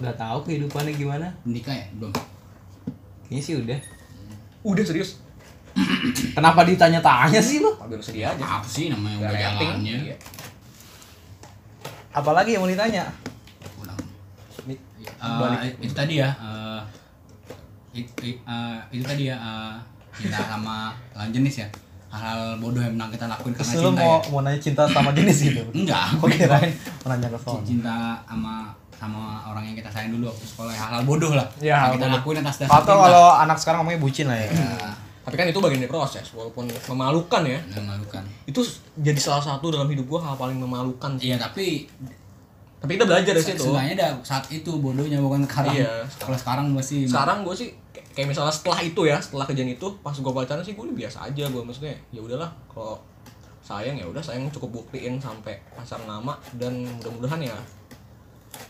Speaker 1: Enggak tahu kehidupannya gimana.
Speaker 3: Menikah ya? Belum.
Speaker 1: Ini sih udah.
Speaker 2: Udah serius?
Speaker 1: Kenapa ditanya-tanya sih lu?
Speaker 2: Ambil sedih aja
Speaker 3: Apa sih namanya
Speaker 2: Nggak
Speaker 3: udah
Speaker 2: rating
Speaker 3: jalannya?
Speaker 2: Iya.
Speaker 1: Apalagi yang mau ditanya?
Speaker 3: Pulang.
Speaker 1: Nih.
Speaker 3: Eh, itu tadi ya. eh, it- it- eh, itu tadi ya. eh, cinta sama lawan jenis ya. Hal-hal bodoh yang pernah kita lakuin karena
Speaker 1: Terus lu
Speaker 3: cinta
Speaker 1: mau
Speaker 3: ya.
Speaker 1: mau nanya cinta sama jenis gitu.
Speaker 3: Enggak.
Speaker 1: Oke, kirain mau nanya ke sono.
Speaker 3: cinta sama sama orang yang kita sayang dulu waktu sekolah ya, hal-hal bodoh lah
Speaker 1: Ya, hal
Speaker 3: yang kita
Speaker 1: bodoh.
Speaker 3: lakuin atas dasar
Speaker 1: Atau kalau anak sekarang ngomongnya bucin lah ya.
Speaker 2: Tapi kan itu bagian dari proses Walaupun memalukan ya
Speaker 3: cinta memalukan
Speaker 2: itu jadi salah satu dalam hidup gua hal paling memalukan sih.
Speaker 3: iya tapi
Speaker 2: Tapi kita belajar dari situ.
Speaker 3: sebenarnya dah saat itu bodohnya bukan sekarang
Speaker 2: Iya.
Speaker 3: kalau sekarang masih
Speaker 2: Sekarang gua sih kayak- kayak misalnya setelah itu ya, setelah kejadian itu pas gua pacaran sih gua biasa aja gua maksudnya. Ya udahlah kalau sayang ya udah sayang cukup buktiin sampai pasang nama dan mudah-mudahan ya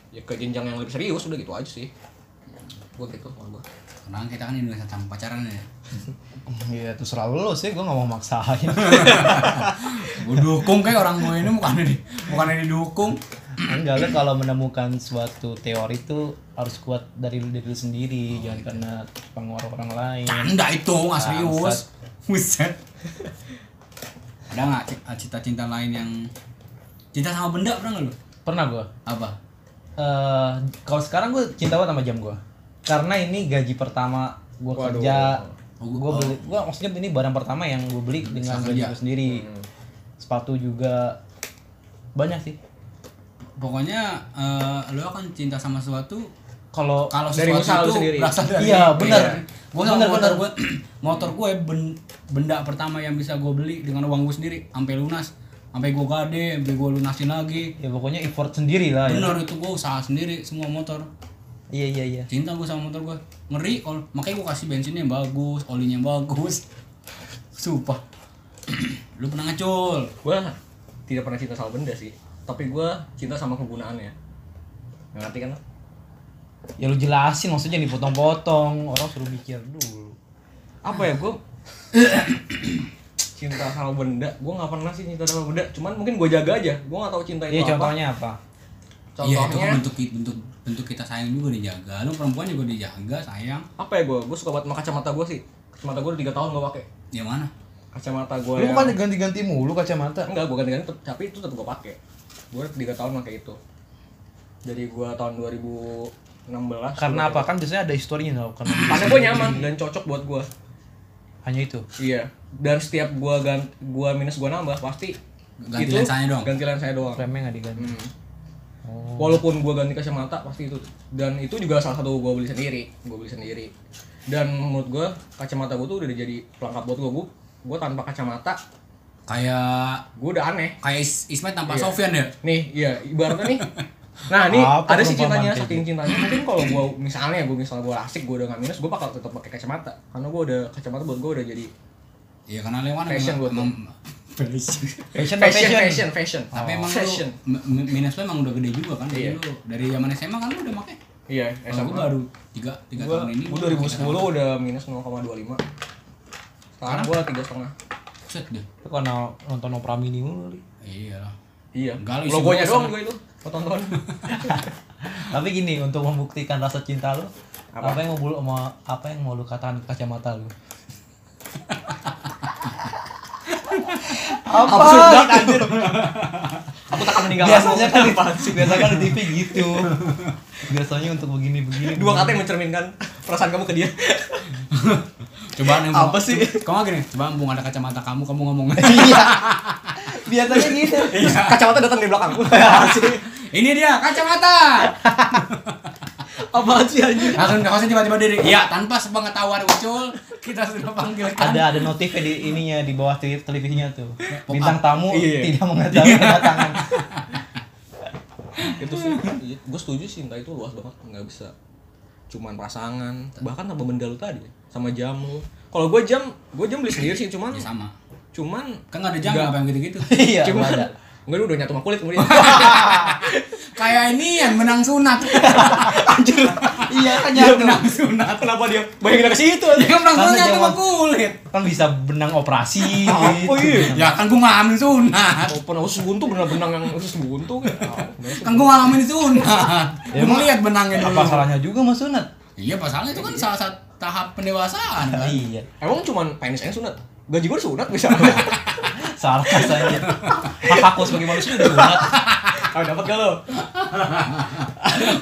Speaker 2: ya ke jenjang yang lebih serius udah gitu aja sih. Gua gitu kalau gua.
Speaker 3: sekarang kita kan Indonesia tanpa pacaran ya
Speaker 1: Iya, terserah lu sih, gua nggak mau maksain.
Speaker 3: Gue dukung kayak orang gue ini bukan di bukan didukung.
Speaker 1: Enggak lu kalau menemukan suatu teori itu harus kuat dari diri lu sendiri, jangan karena pengaruh orang lain.
Speaker 3: Canda itu nggak serius.
Speaker 1: Bangsat.
Speaker 3: Buset. Ada nggak ci- cita-cinta lain yang cinta sama benda pernah nggak lu?
Speaker 1: Pernah gua.
Speaker 3: Apa?
Speaker 1: Eh, kalau sekarang gua cinta banget sama jam gua. Karena ini gaji pertama gua
Speaker 2: Waduh.
Speaker 1: kerja.
Speaker 3: Oh, gua-
Speaker 1: Gua beli, gua maksudnya ini barang pertama yang gua beli dengan gaji
Speaker 3: kerja.
Speaker 1: gua sendiri.
Speaker 3: Hmm.
Speaker 1: Sepatu juga banyak sih.
Speaker 3: Pokoknya eh, lu akan cinta sama sesuatu
Speaker 1: Kalau
Speaker 3: kalau
Speaker 2: Dari usaha lu
Speaker 3: sesuatu itu
Speaker 2: sendiri.
Speaker 3: berasal dari
Speaker 1: Iya, benar.
Speaker 3: Gue sama
Speaker 1: Benar,
Speaker 3: motor
Speaker 1: benar.
Speaker 3: gue, motor gue ben- benda pertama yang bisa gue beli dengan uang gue sendiri, sampai lunas, sampai gue gade, sampai gue lunasin lagi.
Speaker 1: ya pokoknya effort sendiri lah ya.
Speaker 3: Benar itu gue usaha sendiri semua motor.
Speaker 1: Iya iya iya.
Speaker 3: Cinta gue sama motor gue. Ngeri kalau makanya gue kasih bensinnya yang bagus, olinya yang bagus. Sumpah. Lu pernah ngecul.
Speaker 2: gue tidak pernah cinta sama benda sih tapi gue cinta sama kegunaannya ngerti kan
Speaker 1: Ya lu jelasin maksudnya jangan dipotong-potong, orang suruh mikir dulu.
Speaker 2: apa ya gue cinta sama benda gue nggak pernah sih cinta sama benda cuman mungkin gue jaga aja gue nggak tahu cinta itu
Speaker 1: Iya gitu.
Speaker 2: apa
Speaker 1: contohnya apa?
Speaker 3: Iya itu kan
Speaker 2: contohnya
Speaker 3: bentuk bentuk bentuk kita sayang juga dijaga. Lu perempuan juga dijaga sayang.
Speaker 2: apa ya gue gue suka buat sama kacamata gue sih kacamata gue udah tiga tahun gue pakai
Speaker 3: Ya mana?
Speaker 2: kacamata gue
Speaker 1: Lu
Speaker 2: yang
Speaker 1: bukan ganti-ganti mulu kacamata.
Speaker 2: enggak gue ganti-ganti tetep- tapi itu tetap gue pakai gue tiga tahun pakai itu dari gue tahun 2016
Speaker 1: Karena apa? Kan biasanya ada historinya tau karena
Speaker 2: karena gue nyaman dan cocok buat gue
Speaker 1: hanya itu.
Speaker 2: Iya. Dan setiap gua gan- gua minus gua nambah pasti
Speaker 3: Ganti lensanya doang.
Speaker 2: Ganti lensanya doang.
Speaker 1: Remnya nggak diganti.
Speaker 2: Hmm. Walaupun gua ganti kacamata pasti itu. Dan itu juga salah satu gua beli sendiri, gua beli sendiri. Dan menurut gua kacamata gua tuh udah jadi pelengkap buat gua. Gua, gua tanpa kacamata
Speaker 3: Kayak
Speaker 2: gua udah aneh.
Speaker 3: kayak Is- Ismet tanpa Sofian ya
Speaker 2: Nih, iya, ibaratnya nih. Nah, ini
Speaker 1: Apa
Speaker 2: ada
Speaker 1: perumpamaan
Speaker 2: sih cintanya,
Speaker 1: kayak gitu?
Speaker 2: saking cintanya. Mungkin kalau gua misalnya gua misalnya gua asik, gua udah nggak minus, gua bakal tetap pakai kacamata. Karena gua udah kacamata buat gua udah jadi
Speaker 3: ya karena lewat
Speaker 2: Fashion gua tuh.
Speaker 1: Fashion
Speaker 3: fashion
Speaker 1: Oh.
Speaker 2: fashion, fashion, fashion.
Speaker 3: tapi emang
Speaker 2: fashion.
Speaker 3: lu mi- mi- minus lu emang udah gede juga kan
Speaker 2: Iya.
Speaker 3: dari lu dari zaman SMA kan lu udah pakai
Speaker 2: Iya,
Speaker 3: kalau gua baru tiga tiga
Speaker 2: gua,
Speaker 3: tahun ini
Speaker 2: gua
Speaker 3: udah
Speaker 2: 2010 udah minus 0,25 sekarang gua tiga setengah
Speaker 3: set deh
Speaker 1: Lu Karena nonton opera mini mulu. Li.
Speaker 3: iya lah
Speaker 2: iya
Speaker 3: Enggak, lu isi
Speaker 2: logonya
Speaker 3: gua
Speaker 2: doang
Speaker 3: setengah.
Speaker 2: gua itu tonton
Speaker 1: Tapi gini, untuk membuktikan rasa cinta lu,
Speaker 2: Apa?
Speaker 1: apa, yang mau lu mau apa yang mau lu katakan ke kacamata lu? apa?
Speaker 2: Absurd banget, anjir. aku takkan meninggal
Speaker 1: biasanya kan di, biasanya kan di TV gitu biasanya untuk begini begini
Speaker 2: dua kata yang mencerminkan perasaan kamu ke dia
Speaker 3: coba nih Bung.
Speaker 2: Apa sih?
Speaker 3: kamu gini coba bung ada kacamata kamu kamu ngomong
Speaker 1: iya biasanya gitu
Speaker 2: kacamata datang dari belakangku
Speaker 3: ini dia kacamata
Speaker 2: apa sih anjir
Speaker 3: langsung kaosnya tiba-tiba diri ya tanpa sepengetahuan ucul kita sudah kan. panggilkan
Speaker 1: ada ada notifnya di ininya di bawah tele- televisinya tuh
Speaker 3: Pop
Speaker 1: bintang
Speaker 3: up.
Speaker 1: tamu
Speaker 2: Iya.
Speaker 1: tidak mengetahui kedatangan
Speaker 2: itu sih Iya, gua setuju sih cinta itu luas banget nggak bisa cuman pasangan bahkan sama benda lu tadi sama jam lu kalau gua jam gua jam beli sendiri sih cuman
Speaker 3: ya sama
Speaker 2: cuman
Speaker 3: kan nggak ada jam apa yang gitu-gitu
Speaker 1: iya
Speaker 2: cuman
Speaker 1: ada
Speaker 2: enggak udah nyatu sama kulit kemudian
Speaker 3: kayak ini yang menang sunat
Speaker 2: anjir
Speaker 1: iya kan
Speaker 3: yang
Speaker 1: nyatu
Speaker 3: menang sunat
Speaker 2: kenapa dia bayangin ke situ
Speaker 3: Ya
Speaker 1: Karena
Speaker 3: kan langsung nyatu
Speaker 1: zaman-
Speaker 3: sama kulit.
Speaker 1: kan bisa benang operasi gitu.
Speaker 2: Oh iya.
Speaker 3: Ya kan gua ngalamin sunat.
Speaker 2: Open usus buntu benang-benang yang usus buntu Iya. kayak.
Speaker 3: Kan gua ngalamin sunat.
Speaker 1: Ya,
Speaker 3: Gua
Speaker 1: emang-
Speaker 3: ngeliat benangnya dulu.
Speaker 1: apa salahnya juga mas sunat
Speaker 3: Iya pasalnya itu kan salah satu tahap pendewasaan kan.
Speaker 1: iya
Speaker 2: Emang cuman penis aja sunat. Gaji gue sunat bisa.
Speaker 1: Iya, salah saja hak aku sebagai manusia udah sunat
Speaker 2: Kalau dapat gak lo?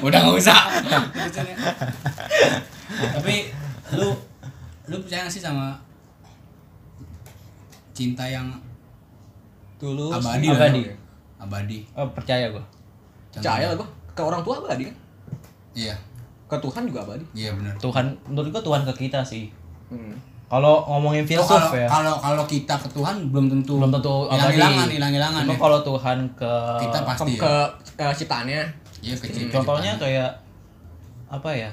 Speaker 3: Udah nggak usah. ya. Tapi lu lu percaya nggak sih sama cinta yang
Speaker 2: Tulus.
Speaker 3: Abadi
Speaker 1: lah. Abadi.
Speaker 3: abadi?
Speaker 1: oh, percaya gua
Speaker 2: Percaya lah gue. Ke orang tua abadi kan.
Speaker 3: Iya.
Speaker 2: Ke Tuhan juga abadi.
Speaker 3: Iya benar.
Speaker 1: Tuhan menurut gua Tuhan ke kita sih
Speaker 2: Hmm.
Speaker 1: kalau ngomongin
Speaker 3: Oh,
Speaker 1: filsuf
Speaker 3: Kalau
Speaker 1: ya
Speaker 3: kalau kalau kita ke Tuhan belum tentu
Speaker 1: belum tentu abadi.
Speaker 3: hilang-hilangan hilang-hilangan
Speaker 1: Cuma
Speaker 3: ya.
Speaker 1: kalau Tuhan ke Hmm,
Speaker 3: Kita
Speaker 2: Ke,
Speaker 3: pasti
Speaker 2: ke,
Speaker 3: ya.
Speaker 2: ke eh, ciptaannya.
Speaker 3: Iya kecil.
Speaker 1: contohnya kayak apa ya?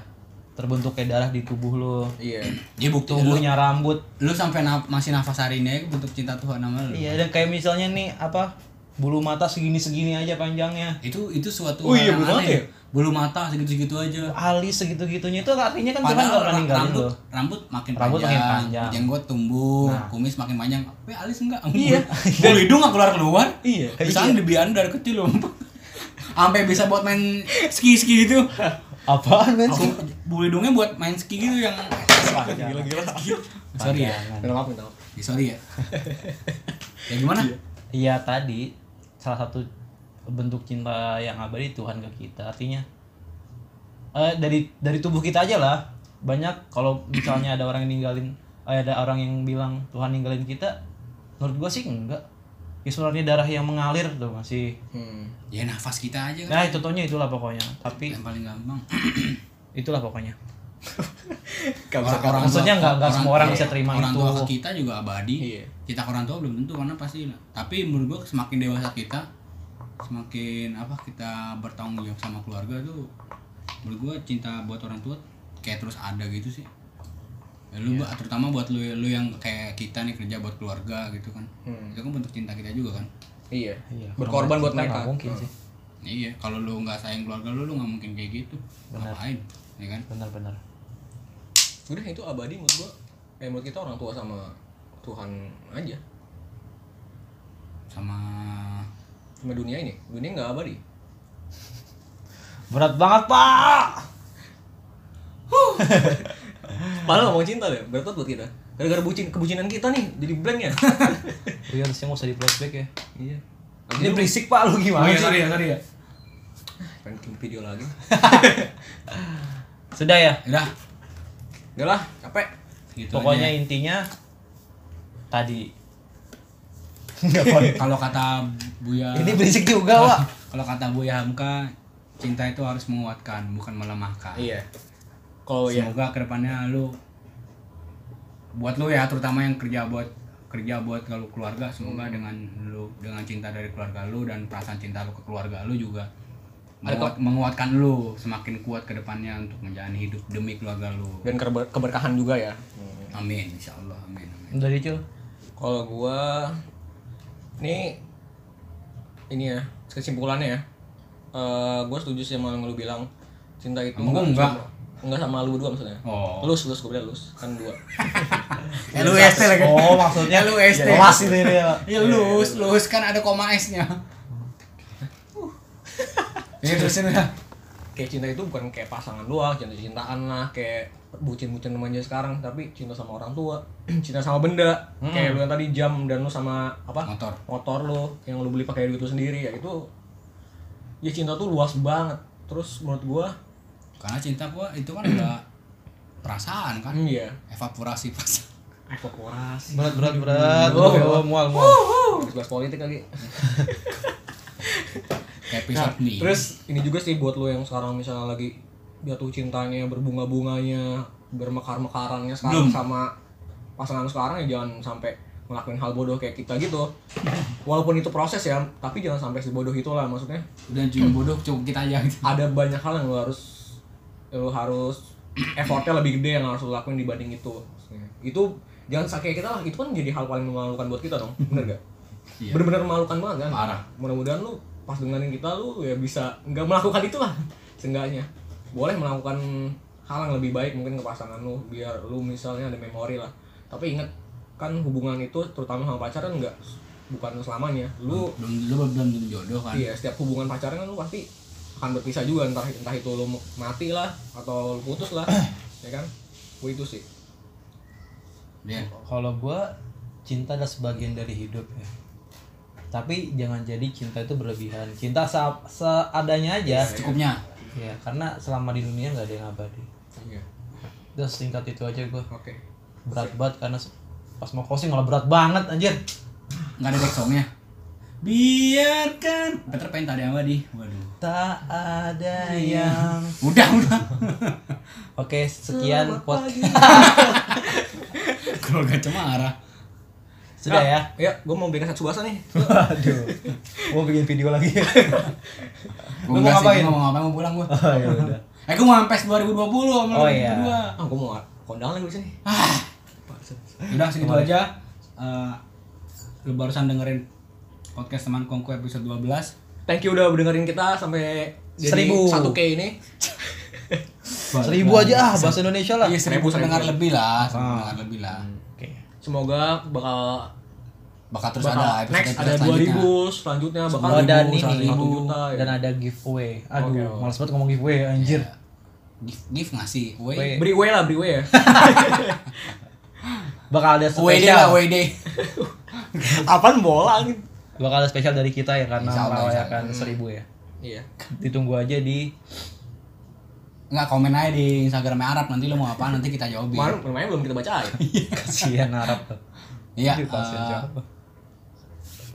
Speaker 1: Terbentuknya darah di tubuh lo,
Speaker 2: Iya.
Speaker 3: Iya bukti lu
Speaker 1: tubuhnya rambut.
Speaker 3: lu sampai na- masih nafas hari ini aja bentuk cinta Tuhan sama lu
Speaker 1: Iya, dan kayak misalnya nih apa? bulu mata segini-segini aja panjangnya
Speaker 3: itu itu suatu
Speaker 2: Oh iya,
Speaker 3: hal yang
Speaker 2: belum
Speaker 3: aneh.
Speaker 2: mati ya?
Speaker 3: bulu mata segitu-segitu aja
Speaker 1: alis segitu-gitunya itu artinya kan Tuhan
Speaker 3: padahal
Speaker 1: gak pernah
Speaker 3: ra-
Speaker 1: ninggalin
Speaker 3: rambut
Speaker 1: lo
Speaker 3: rambut makin
Speaker 1: Rambut makin
Speaker 3: panjang,
Speaker 1: panjang.
Speaker 3: jenggot tumbuh
Speaker 1: Nah.
Speaker 3: kumis makin panjang tapi alis enggak iya bulu hidung nggak keluar keluar
Speaker 2: Iya.
Speaker 3: misalnya dibiayain dari kecil loh sampai bisa buat main ski ski gitu
Speaker 1: apaan men
Speaker 3: Aku- bulu hidungnya buat main ski gitu yang
Speaker 2: Gila-gila.
Speaker 3: sorry ya
Speaker 1: Panjangan.
Speaker 2: Minta maaf, minta maaf.
Speaker 3: Ya, sorry ya ya gimana
Speaker 1: Iya tadi salah satu bentuk cinta yang abadi Tuhan ke kita artinya eh, dari dari tubuh kita aja lah banyak kalau misalnya ada orang yang ninggalin eh, ada orang yang bilang Tuhan ninggalin kita menurut gua sih enggak ya sebenarnya darah yang mengalir tuh masih
Speaker 2: Hmm.
Speaker 3: ya nafas kita aja kan
Speaker 1: nah itu contohnya itulah pokoknya tapi
Speaker 3: yang paling gampang
Speaker 1: itulah pokoknya
Speaker 2: Gak bisa
Speaker 3: Orang- orang
Speaker 1: maksudnya
Speaker 3: tua-
Speaker 1: nggak- nggak semua orang
Speaker 3: iya,
Speaker 1: bisa terima
Speaker 3: orang
Speaker 1: itu.
Speaker 3: tua ke kita juga abadi
Speaker 2: Iya.
Speaker 3: kita ke orang tua belum tentu karena pasti tapi menurut gua semakin dewasa kita semakin apa kita bertanggung jawab sama keluarga tuh menurut gua cinta buat orang tua kayak terus ada gitu sih Ya, lu
Speaker 1: Iya.
Speaker 3: buat- terutama buat lu lu yang kayak kita nih kerja buat keluarga gitu kan
Speaker 2: Hmm.
Speaker 3: itu kan bentuk cinta kita juga kan
Speaker 2: Iya.
Speaker 1: Iya,
Speaker 2: Berkorban buat
Speaker 1: nggak
Speaker 2: mereka.
Speaker 1: mungkin
Speaker 2: Hmm.
Speaker 1: sih
Speaker 3: iya kalau lu nggak sayang keluarga lu lu nggak mungkin kayak gitu ngapain ya kan
Speaker 1: benar-benar
Speaker 2: udah itu abadi menurut gua eh menurut kita orang tua sama Tuhan aja
Speaker 3: sama
Speaker 2: sama dunia ini dunia nggak abadi
Speaker 1: berat banget pak
Speaker 2: padahal ngomong cinta deh berat banget buat kita gara-gara bucin kebucinan kita nih jadi blank ya
Speaker 1: Iya harusnya nggak usah di flashback ya
Speaker 2: iya Oh,
Speaker 1: ini berisik pak lu gimana sih?
Speaker 3: ya sorry ya
Speaker 2: pengen bikin video lagi
Speaker 1: sudah ya
Speaker 3: udah
Speaker 2: udah lah capek
Speaker 3: gitu
Speaker 1: Pokoknya
Speaker 3: aja.
Speaker 1: intinya tadi
Speaker 3: kalau kata Buya
Speaker 1: ini berisik juga, Wak.
Speaker 3: kalau kata Buya Hamka cinta itu harus menguatkan bukan melemahkan
Speaker 2: iya kalau ya
Speaker 3: semoga kedepannya lu buat lu ya terutama yang kerja buat kerja buat kalau keluarga semoga
Speaker 2: Hmm.
Speaker 3: dengan lu dengan cinta dari keluarga lu dan perasaan cinta lu ke keluarga lu juga menguat- menguatkan lu semakin kuat kedepannya untuk menjalani hidup demi keluarga lu
Speaker 2: dan keber- keberkahan juga ya
Speaker 3: amin insyaallah amin, amin.
Speaker 1: Dari Cil.
Speaker 2: kalau gua ini ini ya kesimpulannya ya Eh gua setuju sih sama yang lu bilang cinta itu
Speaker 3: Sama gua
Speaker 2: nggak-
Speaker 3: enggak.
Speaker 2: enggak sama lu berdua maksudnya
Speaker 3: oh
Speaker 2: lus lus gua bilang lus kan dua
Speaker 3: lu
Speaker 2: ya,
Speaker 3: ST lagi
Speaker 1: Oh, maksudnya
Speaker 3: lu ST
Speaker 1: Kelas ini dia.
Speaker 3: Ya lus, lus kan ada koma S-nya. Oh. Ya terusin udah.
Speaker 2: kayak cinta itu bukan kayak pasangan doang cinta cintaan lah kayak bucin-bucin remaja sekarang tapi cinta sama orang tua cinta sama benda kayak lu yang tadi jam dan lu sama apa
Speaker 3: Motor.
Speaker 2: motor lu yang lu beli pakai duit lu sendiri ya itu ya cinta tuh luas banget terus menurut gua
Speaker 3: Karena cinta gua itu kan udah perasaan kan.
Speaker 2: hmm, ya
Speaker 3: Evaporasi perasaan.
Speaker 2: evaporasi
Speaker 1: Berat berat berat.
Speaker 2: Oh.
Speaker 1: Oh, mual mual.
Speaker 2: terus bahas politik lagi
Speaker 3: Episode nih.
Speaker 2: Nah, Terus ini juga sih buat lo yang sekarang misalnya lagi jatuh cintanya, berbunga-bunganya, bermekar-mekarannya sekarang sama pasangan lo sekarang ya jangan sampai ngelakuin hal bodoh kayak kita gitu. Walaupun itu proses ya, tapi jangan sampai sebodoh itulah maksudnya.
Speaker 3: udah cuma bodoh cukup kita aja gitu.
Speaker 2: Ada banyak hal yang lo harus lo harus effortnya lebih gede yang harus lo lakuin dibanding itu. Itu jangan sakit kita lah, itu kan jadi hal paling memalukan buat kita dong, bener gak?
Speaker 3: Iya.
Speaker 2: Bener-bener memalukan banget kan?
Speaker 3: Parah.
Speaker 2: mudah-mudahan lu pas dengerin kita lu ya bisa nggak melakukan itulah seenggaknya boleh melakukan hal yang lebih baik mungkin ke pasangan lu biar lu misalnya ada memori lah tapi inget kan hubungan itu terutama sama pacar kan nggak bukan selamanya lu
Speaker 3: Belum lu belum tentu jodoh kan.
Speaker 2: iya setiap hubungan pacaran kan lu pasti akan berpisah juga entah entah itu lu mati lah atau lu putus lah ya kan Gua itu sih
Speaker 3: Iya.
Speaker 1: Kalau gua cinta adalah sebagian dari hidup ya. Tapi jangan jadi cinta itu berlebihan. Cinta sa- seadanya aja.
Speaker 3: Cukupnya.
Speaker 1: Ya, karena selama di dunia nggak ada yang abadi.
Speaker 2: iya
Speaker 1: Udah singkat itu aja gua.
Speaker 2: oke
Speaker 1: Berat banget karena se- pas mau closing malah berat banget anjir.
Speaker 3: Enggak ada back song-nya. Biarkan. Peter pengen tadi sama di. Waduh.
Speaker 1: Tak ada yang
Speaker 3: Udah, udah.
Speaker 1: Oke, sekian podcast.
Speaker 3: Kalau gak cuma arah.
Speaker 1: Sudah ya.
Speaker 2: ya gue mau belikan satu bahasa nih
Speaker 1: Aduh, mau bikin video lagi ya? Lu mau
Speaker 3: Gua enggak sih,
Speaker 1: ngapain?
Speaker 3: gua mau ngapain mau pulang gua.
Speaker 1: Oh, ya udah.
Speaker 3: Eh, gua mau ampes 2020 sama
Speaker 1: Oh,
Speaker 3: lu
Speaker 1: iya.
Speaker 3: berdua.
Speaker 2: ah gue mau kondangan lagi di sini
Speaker 3: Ah. Udah segitu aja. Eh, lu barusan dengerin podcast teman kongko episode 12
Speaker 2: Thank you udah dengerin kita sampai jadi
Speaker 1: Seribu.
Speaker 2: 1K ini.
Speaker 1: Seribu aja ah bahasa Indonesia lah.
Speaker 3: Iya
Speaker 2: Seribu,
Speaker 3: seribu,
Speaker 2: Ah.
Speaker 3: pendengar
Speaker 2: seribu.
Speaker 3: lebih lah, seribu pendengar lebih lah.
Speaker 2: Oke. Semoga bakal
Speaker 3: Bakal terus
Speaker 2: bakal
Speaker 3: ada episode
Speaker 2: next ada 2000 selanjutnya bakal
Speaker 1: Oh, dan ini
Speaker 2: 1 juta ya.
Speaker 1: dan ada giveaway. Aduh,
Speaker 2: Oke,
Speaker 1: malas
Speaker 2: oke.
Speaker 1: banget ngomong giveaway anjir.
Speaker 3: Iya. Gift, gift ngasih,
Speaker 1: Weh.
Speaker 3: woi.
Speaker 2: beri way lah, beri way ya.
Speaker 1: Bakal ada
Speaker 3: WD
Speaker 1: spesial.
Speaker 3: lah, WD.
Speaker 2: Apaan bola nih?
Speaker 1: Bakal ada spesial dari kita ya karena
Speaker 3: Insya Allah, Hmm.
Speaker 1: merayakan seribu ya.
Speaker 2: Iya.
Speaker 1: Ditunggu aja di
Speaker 3: Enggak komen aja di Instagramnya Arab nanti lo mau apa nanti kita jawabin.
Speaker 2: Kemarin namanya belum kita bacain.
Speaker 1: kasihan Arab. tuh.
Speaker 3: Iya.
Speaker 1: Aduh, kasihan
Speaker 3: eh,
Speaker 1: siapa?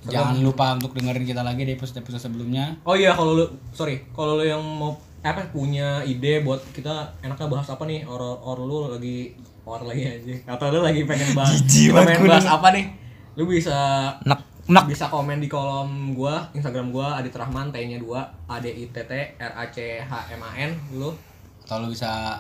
Speaker 3: jangan lupa untuk dengerin kita lagi di episode-episode sebelumnya.
Speaker 2: Oh iya, kalau lu sorry, kalau lu yang mau apa punya ide buat kita enaknya bahas apa nih? Or, or lu lagi or lagi aja. Atau lu lagi pengen bahas
Speaker 1: Jijik
Speaker 2: lu
Speaker 1: banget
Speaker 2: pengen
Speaker 1: gua
Speaker 2: bahas apa nih? Lu bisa
Speaker 1: Nak nak
Speaker 2: bisa komen di kolom gua, Instagram gua Adit Rahman T-nya 2, A D I T T R A C H M A N lu.
Speaker 3: Atau lo bisa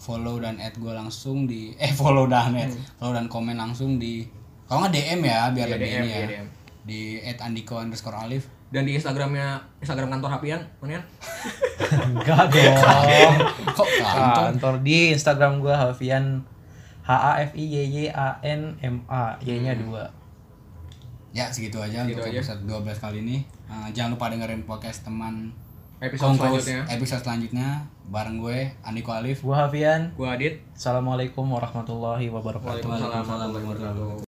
Speaker 3: follow dan add gue langsung di eh follow dan add follow dan komen langsung di kalau nggak DM ya biar
Speaker 2: Hmm. Iya,
Speaker 3: lebih
Speaker 2: DM,
Speaker 3: ini ya
Speaker 2: iya, DM.
Speaker 3: di add andiko underscore alif
Speaker 2: Dan di Instagramnya Instagram kantor Hapian, mana ya?
Speaker 1: enggak dong.
Speaker 3: Oh, kok
Speaker 2: Ah.
Speaker 3: kantor
Speaker 1: Kantor di Instagram gua Hafian H A F I Y Y A N M A Y-nya dua.
Speaker 3: ya segitu aja
Speaker 2: Segitu
Speaker 3: untuk
Speaker 2: aja.
Speaker 3: episode 12 kali ini Eh, jangan lupa dengerin podcast teman
Speaker 2: Episode
Speaker 3: Kongkos
Speaker 2: selanjutnya.
Speaker 3: episode selanjutnya bareng gue Andiko Alif
Speaker 1: Gua Hafian.
Speaker 2: Gua Adit.
Speaker 1: Assalamualaikum warahmatullahi wabarakatuh.
Speaker 2: Waalaikumsalam warahmatullahi wabarakatuh.